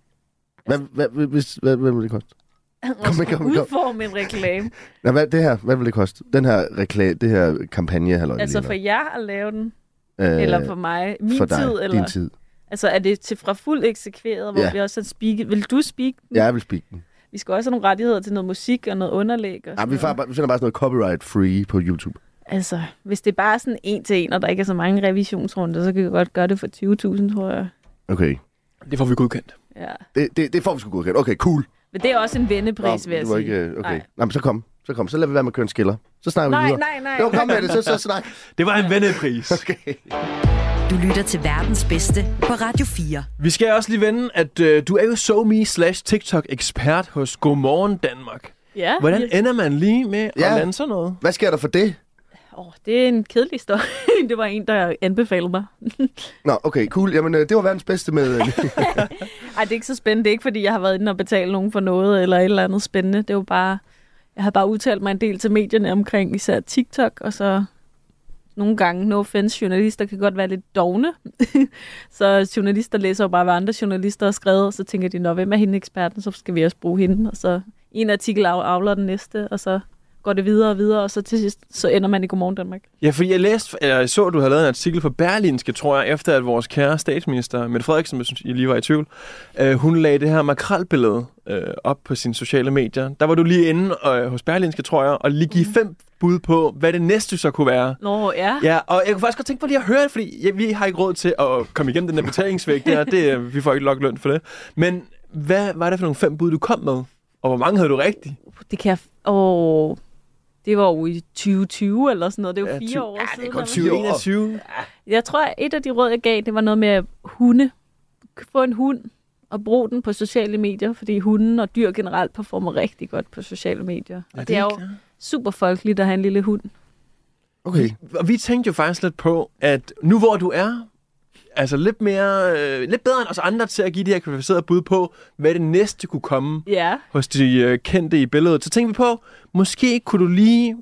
S3: Hvad,
S5: Altså-
S3: hvad, hvis, hvad, hvad vil det koste? Kom, kom, kom.
S5: Udforme en reklame.
S3: Nej, hvad, det her, hvad vil det koste? Den her reklame, det her kampagne, halløj,
S5: altså
S3: lige
S5: for
S3: nu.
S5: jer at lave den,
S3: Øh,
S5: eller for mig. Min
S3: for dig,
S5: tid, eller?
S3: din tid.
S5: Altså er det til fra fuld eksekveret, hvor
S3: Ja.
S5: ja. vi også har speaket? Vil du speak?
S3: Ja, jeg vil speak den.
S5: Vi skal også have nogle rettigheder til noget musik og noget underlæg. Og
S3: Ja,
S5: sådan
S3: vi,
S5: noget.
S3: får, bare- vi finder bare sådan noget copyright-free på YouTube.
S5: Altså, hvis det bare er sådan en til en, og der ikke er så mange revisionsrunder, så kan vi godt gøre det for 20.000, tror jeg.
S3: Okay.
S4: Det får vi godkendt.
S5: Ja.
S3: Det, det, det får vi sgu godkendt. Okay, cool.
S5: Men det er også en vendepris,
S3: Nå,
S5: vil jeg
S3: det var
S5: sige.
S3: Ikke, øh, okay.
S5: Nej.
S3: Nej. men så kom. Så kom. Så lader vi være med at køre en skiller. Så snakker vi
S5: Nej,
S3: videre.
S5: nej, nej.
S3: Jo, kom med det. Så, så snak.
S4: Det var en vennepris.
S2: Du lytter til verdens bedste på Radio 4.
S4: Vi skal også lige vende, at øh, du er jo SoMe slash TikTok-ekspert hos Godmorgen Danmark.
S5: Ja,
S4: Hvordan
S5: Hvordan?
S4: ender man lige med ja.
S3: Ja.
S4: at lande sådan noget?
S3: Hvad sker der for det?
S5: Oh, det er en kedelig historie. det var en, der anbefalede mig.
S3: Nå, okay, cool. Jamen, øh, det var verdens bedste med...
S5: Ej, det er ikke så spændende. Det er ikke, fordi jeg har været inde og betale nogen for noget eller et eller andet spændende. Det var bare... Jeg har bare udtalt mig en del til medierne omkring især TikTok, og så nogle gange, no offense, journalister kan godt være lidt dogne. så journalister læser jo bare, hvad andre journalister har skrevet, og så tænker de, nå, hvem er hende eksperten, så skal vi også bruge hende. Og så en artikel af- avler den næste, og så går det videre og videre, og så til sidst, så ender man i Godmorgen Danmark.
S4: Ja, fordi jeg læste, eller jeg så, at du havde lavet en artikel for Berlinske, tror jeg, efter at vores kære statsminister, Mette Frederiksen, hvis I lige var i tvivl, øh, hun lagde det her makrelbillede øh, op på sine sociale medier. Der var du lige inde øh, hos Berlinske, tror jeg, og lige give fem bud på, hvad det næste så kunne være.
S5: Nå, ja.
S4: Ja, og jeg kunne faktisk godt tænke på lige at høre det, fordi ja, vi har ikke råd til at komme igennem den der betalingsvæg der. Det, øh, vi får ikke nok løn for det. Men hvad var det for nogle fem bud, du kom med? Og hvor mange havde du rigtigt?
S5: Det kan jeg... f- Åh... Det var jo i 2020 eller sådan noget. Det er jo
S4: Ja,
S5: fire
S4: 20
S5: år
S4: ja,
S5: siden.
S3: kun
S5: eller
S3: 20 år.
S4: 21.
S5: Jeg tror, at et af de råd, jeg gav, det var noget med hunde. Få en hund og brug den på sociale medier, fordi hunden og dyr generelt performer rigtig godt på sociale medier. Ja, og det er jo super folkeligt at have en lille hund.
S3: Okay.
S4: Og vi tænkte jo faktisk lidt på, at nu hvor du er, altså lidt, mere, øh, lidt bedre end os andre til at give de her kvalificerede bud på, hvad det næste kunne komme
S5: Ja,
S4: hos de øh, kendte i billedet, så tænkte vi på, måske kunne du lige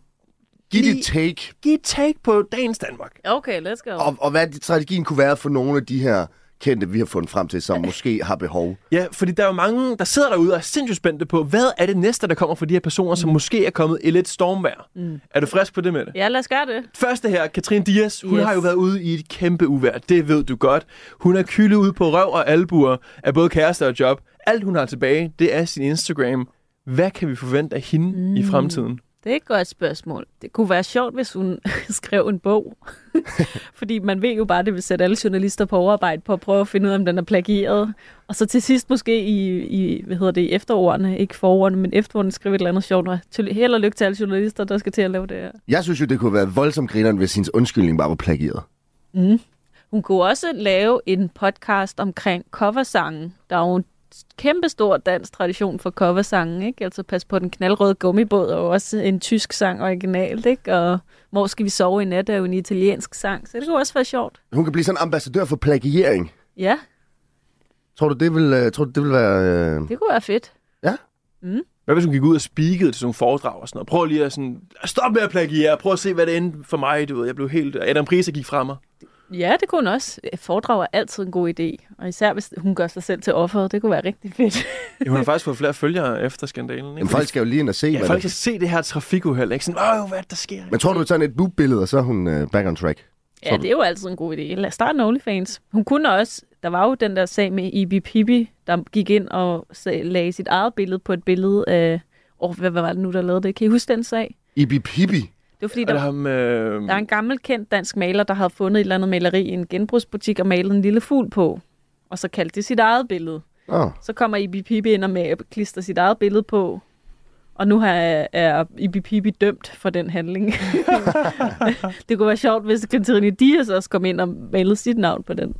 S3: Giv
S4: Lige-
S3: dit take.
S4: give et take på dagens Danmark.
S5: okay, let's go.
S3: Og, og hvad strategien kunne være for nogle af de her kendte, vi har fundet frem til, som måske har behov.
S4: Ja, fordi der er jo mange, der sidder derude og er sindssygt spændte på, hvad er det næste, der kommer fra de her personer, som måske er kommet i lidt stormvejr. Mm. Er du frisk på det med det?
S5: Ja, lad os gøre det.
S4: Første her, Katrine Dias, hun
S5: Yes.
S4: yes. har jo været ude i et kæmpe uvær. Det ved du godt. Hun er kyldet ud på røv og albuer af både kæreste og job. Alt hun har tilbage, det er sin Instagram. Hvad kan vi forvente af hende mm. i fremtiden?
S5: Det er et godt spørgsmål. Det kunne være sjovt, hvis hun skrev en bog. Fordi man ved jo bare, at det vil sætte alle journalister på overarbejde på at prøve at finde ud af, om den er plagieret. Og så til sidst måske i, i hvad hedder det, i efterårene, ikke forordene, men efterårene skrive et eller andet sjovt. Og til- Held og lykke til alle journalister, der skal til at lave det her.
S3: Jeg synes jo, det kunne være voldsomt grineren, hvis hendes undskyldning bare var plagieret.
S5: Hun kunne også lave en podcast omkring coversangen. Der er jo en kæmpe stor dansk tradition for coversangen, ikke? Altså pas på den knaldrøde gummibåd, og også en tysk sang originalt, ikke? Og Hvor skal vi sove i nat er jo en italiensk sang, så det kunne også være sjovt.
S3: Hun kan blive sådan en ambassadør for plagiering.
S5: Ja,
S3: Tror du, det vil, øh, tror du, det vil være... Øh...
S5: det kunne være fedt.
S4: Hvad hvis hun gik ud og speakede til sådan nogle foredrag og sådan noget? Prøv lige at sådan, stop med at plagiere. Prøv at se, hvad det endte for mig. Du ved, jeg blev helt... Adam Price gik fra mig.
S5: Ja, det kunne hun også. Foredrag er altid en god idé, og især hvis hun gør sig selv til offeret, det kunne være rigtig fedt.
S4: Ja, hun har faktisk fået flere følgere efter skandalen. Ikke?
S3: Jamen, folk skal jo lige ind og se, ja,
S4: ja,
S3: hvad
S4: folk
S3: der...
S4: kan se det her trafikuheld. Ikke? Sådan, Åh, hvad er det, der sker?
S3: Men tror du, sådan et boob-billede, og så er hun øh, back on track?
S5: Ja, det er jo altid en god idé. Lad os starte en OnlyFans. Hun kunne også, der var jo den der sag med Ibi Pippi, der gik ind og sag- lagde sit eget billede på et billede af, åh, hvad, hvad var det nu, der lavede det? Kan I huske den sag?
S3: Ibi Pibi.
S5: Det var fordi,
S4: Er
S5: der,
S4: det ham... Øh...
S5: der er en gammel kendt dansk maler, der havde fundet et eller andet maleri i en genbrugsbutik og malet en lille fugl på. Og så kaldte det sit eget billede.
S3: Nå,
S5: Så kommer Ibi Pibi ind og med klister sit eget billede på. Og nu har, er Ibi Pibi dømt for den handling. det kunne være sjovt, hvis Katrine Dias også kom ind og malede sit navn på den.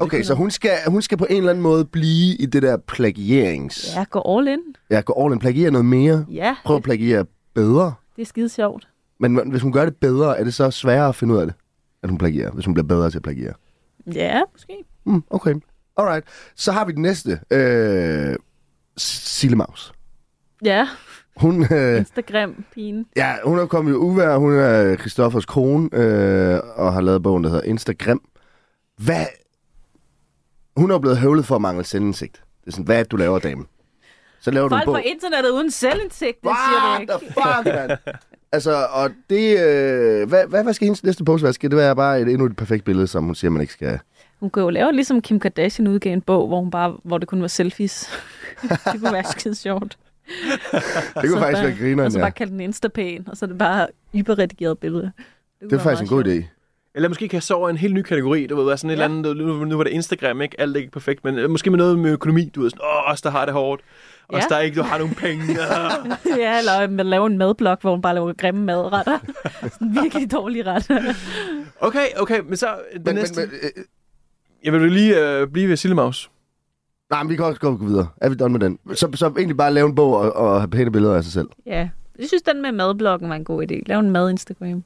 S3: okay, så hun skal, hun skal på en eller anden måde blive i det der plagierings...
S5: Ja, gå all in.
S3: Ja, gå all in, plagiere noget mere.
S5: Ja,
S3: Prøv at plagiere bedre.
S5: det er skide sjovt.
S3: Men hvis hun gør det bedre, er det så sværere at finde ud af det, at hun plagierer, hvis hun bliver bedre til at plagiere?
S5: Ja, måske.
S3: Mm, okay. Alright. Så har vi den næste. Øh, Sille Maus.
S5: Ja,
S3: Hun, øh,
S5: Instagram-pigen.
S3: ja, hun er kommet i uvær. Hun er Christoffers kone øh, og har lavet bogen, der hedder Instagram. Hvad? Hun er blevet høvlet for at mangle selvindsigt. Det er sådan, hvad er det, du laver, dame? Så laver
S5: Folk
S3: du en
S5: på
S3: bog.
S5: internettet uden selvindsigt, det siger du
S3: What
S5: ikke.
S3: the fuck, man? altså, og det... Øh, hvad, hvad, hvad skal hendes næste post være? Skal det være bare et, endnu et perfekt billede, som hun siger, man ikke skal...
S5: Hun kunne jo lave ligesom Kim Kardashian udgav en bog, hvor, hun bare, hvor det kun var selfies. det kunne være skide sjovt.
S3: Det kunne faktisk være
S5: Og
S3: grineren,
S5: så bare
S3: ja.
S5: kalde den Instapan, og så er det bare hyperredigeret billede.
S3: Det er faktisk en god idé.
S4: Eller måske kan jeg sove i en helt ny kategori. Du ved, være sådan et
S5: Ja.
S4: ja. eller andet, nu, nu var det Instagram, ikke? Alt er ikke perfekt, men øh, måske med noget med økonomi. Du ved sådan, åh, os der har det hårdt. Os
S5: Ja.
S4: der ikke, du har nogen penge. Ah.
S5: ja, eller man laver en madblok, hvor hun bare laver grimme madretter. Sådan virkelig dårlige retter.
S4: okay, okay, men så øh, den
S3: Men, men,
S4: næste.
S3: men, øh,
S4: Jeg vil jo lige øh, blive ved Sillemaus.
S3: nej, men vi kan også godt gå videre. Er vi done med den? Så, så egentlig bare lave en bog og, og have pæne billeder af sig selv.
S5: ja. Jeg synes, den med madblokken var en god idé. Lav en mad-Instagram.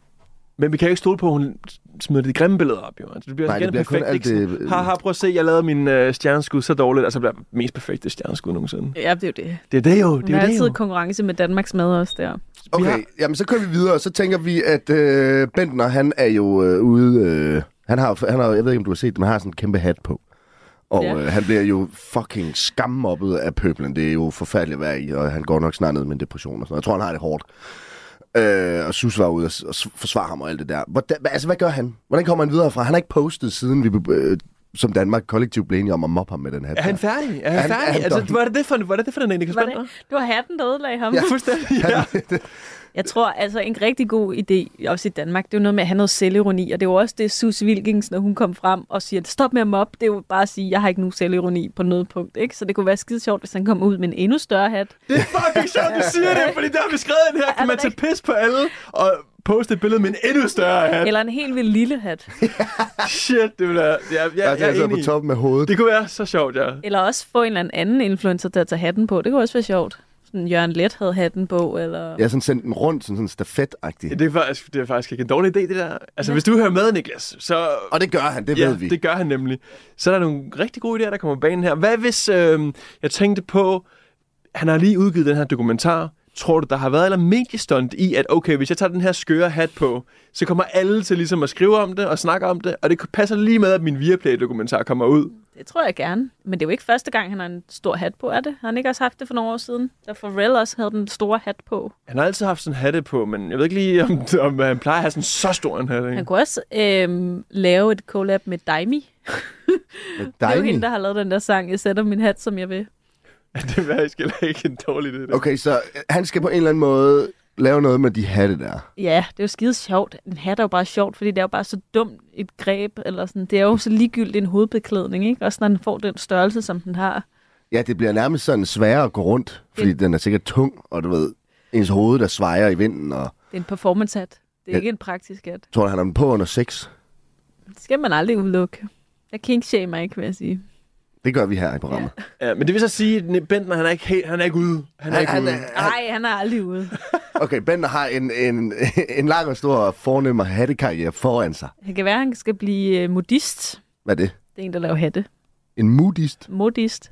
S4: Men vi kan jo ikke stole på, at hun smider de grimme billeder op, jo. Altså, det bliver
S3: Nej,
S4: Nej, igen
S3: det bliver kun
S4: perfekt. Ikke?
S3: alt øh, det-
S4: Sådan, Haha, prøv at se, jeg lavede min øh, stjerneskud så dårligt, og så bliver det mest perfekte stjerneskud nogensinde.
S5: Ja, det er jo det.
S4: Det er det jo, det
S5: Der
S4: er
S5: er
S4: jo det
S5: altid
S4: jo.
S5: konkurrence med Danmarks mad også der.
S3: Okay,
S4: har-
S3: jamen så kører vi videre, og så tænker vi, at øh, Bentner, han er jo øh, ude... Øh, han, har, han har, jeg ved ikke, om du har set det, men han har sådan en kæmpe hat på. Og
S5: Ja.
S3: øh, han bliver jo fucking skammoppet af pøblen. Det er jo forfærdeligt at være i, og han går nok snart ned med en depression og sådan noget. Jeg tror, han har det hårdt. Øh, og Sus var ude og, s- og s- forsvare ham og alt det der. Hvordan, hva- altså, hvad gør han? Hvordan kommer han videre fra? Han har ikke postet siden, vi be- øh, som Danmark kollektivt blev enige om at mobbe ham med den hat.
S4: Er han
S3: der.
S4: færdig? Er han,
S3: Han-
S4: færdig?
S3: han-
S4: altså, var det det for, var det det for den ene,
S5: Var det,
S4: kan
S5: det var hatten, der ødelagde ham.
S4: Ja, fuldstændig. Ja.
S5: Jeg tror, altså en rigtig god idé, også i Danmark, det er jo noget med at have noget selvironi, og det er jo også det, Sus Wilkins, når hun kom frem og siger, stop med at mobbe, det er jo bare at sige, jeg har ikke nogen selvironi på noget punkt, ikke? Så det kunne være skide sjovt, hvis han kom ud med en endnu større hat.
S4: Det er fucking sjovt, du siger det, fordi der har vi skrevet den her. Kan man tage pis på alle og poste et billede med en endnu større hat?
S5: Eller en helt vild lille hat.
S4: Shit, det ville jeg, jeg, jeg,
S3: Altså,
S4: jeg
S3: han
S4: er
S3: sidder
S4: enig
S3: på
S4: i.
S3: toppen af hovedet.
S4: Det kunne være så sjovt, ja.
S5: Eller også få en eller anden influencer til at tage hatten på, det kunne også være sjovt. Sådan Jørgen Let havde hatten på, eller...
S3: Jeg har sådan sendt den rundt, sådan, sådan stafetagtigt.
S4: Det er, faktisk, det er faktisk ikke en dårlig idé, det der. Altså, hvis du hører med, Niklas, så...
S3: Og det gør han, det
S4: ja,
S3: ved vi.
S4: det gør han nemlig. Så er der nogle rigtig gode idéer, der kommer på banen her. Hvad hvis øh, jeg tænkte på... Han har lige udgivet den her dokumentar. Tror du, der har været eller mediestunt i, at okay, hvis jeg tager den her skøre hat på, så kommer alle til ligesom at skrive om det og snakke om det, og det passer lige med, at min Viaplay-dokumentar kommer ud.
S5: Det tror jeg gerne. Men det er jo ikke første gang, han har en stor hat på, er det? Har han ikke også haft det for nogle år siden? Da Pharrell også havde den store hat på.
S4: Han har altid haft sådan en hatte på, men jeg ved ikke lige, om, om øh, han plejer at have sådan så stor en hatte.
S5: Han
S4: ikke?
S5: kunne også øhm, lave et collab med Daimi.
S3: Med
S5: Det er jo
S3: Daimi.
S5: hende, der har lavet den der sang, Jeg sætter min hat, som jeg vil.
S4: Det er faktisk heller ikke en dårlig idé. der.
S3: Okay, så øh, han skal på en eller anden måde lave noget med de hatte der.
S5: Ja, det er jo skide sjovt. En hat er jo bare sjovt, fordi det er jo bare så dumt et greb. Eller sådan. Det er jo så ligegyldigt en hovedbeklædning, ikke? Også når den får den størrelse, som den har.
S3: Ja, det bliver nærmest sådan sværere at gå rundt, fordi
S5: Det-
S3: den er sikkert tung, og du ved, ens hoved, der svejer i vinden, og
S5: Det er en performance-hat. Det er
S3: Ja.
S5: ikke en praktisk hat.
S3: jeg tror, han har den på under 6.
S5: Det skal man aldrig udelukke. Jeg kinkshamer ikke, vil jeg sige.
S3: Det gør vi her i programmet.
S4: Ja, men det vil så sige, at Ne- Bentner, han er ikke, helt, han er ikke ude. Altså, Han er
S3: Han-
S4: ikke
S3: han
S4: ude.
S3: er-
S5: Nej, han er aldrig ude.
S3: Okay, Ben har en, en, en lang og stor fornem og hattekarriere foran sig.
S5: Det kan være, han skal blive øh, modist.
S3: Hvad er det?
S5: Det er en, der laver hatte.
S3: En modist?
S5: Modist.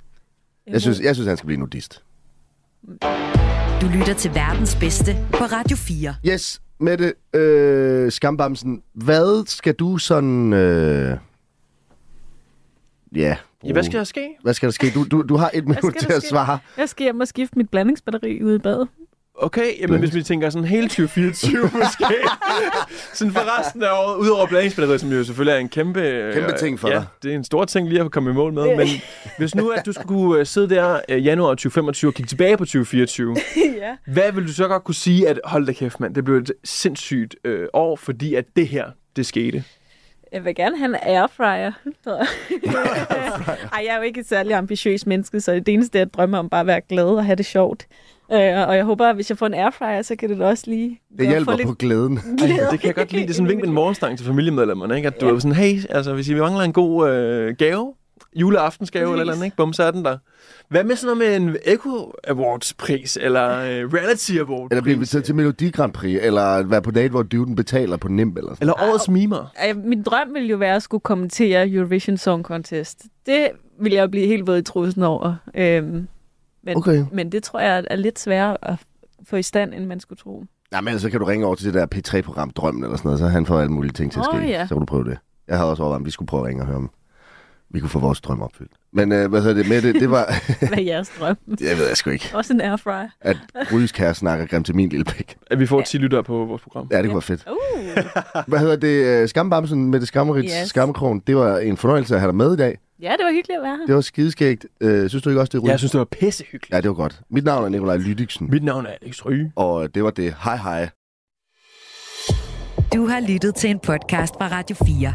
S3: Jeg synes, jeg synes han skal blive nudist.
S2: Du lytter til verdens bedste på Radio 4.
S3: Yes, Mette øh, Skambamsen, hvad skal du sådan... Øh... Ja,
S4: Ja,
S3: Uh.
S4: hvad skal der ske?
S3: Hvad skal der ske? Du, du, du har et minut
S5: skal
S3: til
S5: der
S3: at
S5: ske?
S3: svare.
S5: Jeg skal hjem og skifte mit blandingsbatteri ude i badet.
S4: Okay, jamen, hvis vi tænker sådan hele 2024 måske. sådan for resten af året, udover blandingsbatteriet, som jo selvfølgelig er en kæmpe... øh,
S3: Kæmpe ting for
S4: ja,
S3: dig.
S4: det er en stor ting lige at komme i mål med. Men hvis nu, at du skulle kunne øh, sidde der øh, januar 2025 og kigge tilbage på 2024,
S5: ja.
S4: hvad vil du så godt kunne sige, at hold da kæft, mand, det blev et sindssygt øh, år, fordi at det her, det skete?
S5: Jeg vil gerne have en airfryer. Ej, jeg er jo ikke et særlig ambitiøs menneske, så det eneste, jeg drømmer om, bare at være glad og have det sjovt. Øh, og jeg håber, at hvis jeg får en airfryer, så kan det da også lige...
S3: Det hjælper
S5: få
S3: lidt... på glæden.
S5: glæde.
S4: Det kan jeg godt lide. Det er sådan en vink med en morgenstang til familiemedlemmerne, ikke? At du er sådan, hey, altså hvis I mangler en god øh, gave, juleaftensgave eller et eller andet, ikke? Bum, så er den der. Hvad med sådan noget med en Echo Awards pris, eller øh, Reality Award
S3: Eller blive inviteret til Melodi Grand Prix, eller være på date, hvor dyven betaler på NIMB eller sådan
S4: eller Årets Mimer?
S5: Ej, Min drøm ville jo være at skulle kommentere Eurovision Song Contest. Det ville jeg jo blive helt våd i trusen over. Øhm, men,
S3: Okay.
S5: men det tror jeg er lidt sværere at få i stand, end man skulle tro.
S3: Nej, men ellers så kan du ringe over til det der P3-program Drømmen eller sådan noget, så han får alle mulige ting til at ske.
S5: Åh, ja.
S3: Så kan du prøve det. Jeg havde også overvejet, om vi skulle prøve at ringe og høre om vi kunne få vores drøm opfyldt. Men øh, hvad hedder det med det? Det var,
S5: Hvad er jeres drøm?
S3: jeg ved jeg sgu ikke,
S5: Også en airfryer.
S3: at Ryges kære snakker grimt til min lille pik.
S4: At vi får 10 lyttere på vores program.
S3: Ja, det kunne være fedt.
S5: Uh,
S3: Hvad hedder det? øh, Skambamsen med det skammerigt yes.
S5: Yes.
S3: skammekrogen. Det var en fornøjelse at have dig med i dag.
S5: ja, det var hyggeligt at være her.
S3: Det var skideskægt. Øh, synes du ikke også, det er
S4: Jeg
S3: Ryges?
S4: synes, det var pissehyggeligt.
S3: Ja, det var godt. Mit navn er Nikolaj Lydiksen,
S4: Mit navn er Alex Ryge.
S3: og det var det. Hej hej.
S2: Du har lyttet til en podcast fra Radio 4.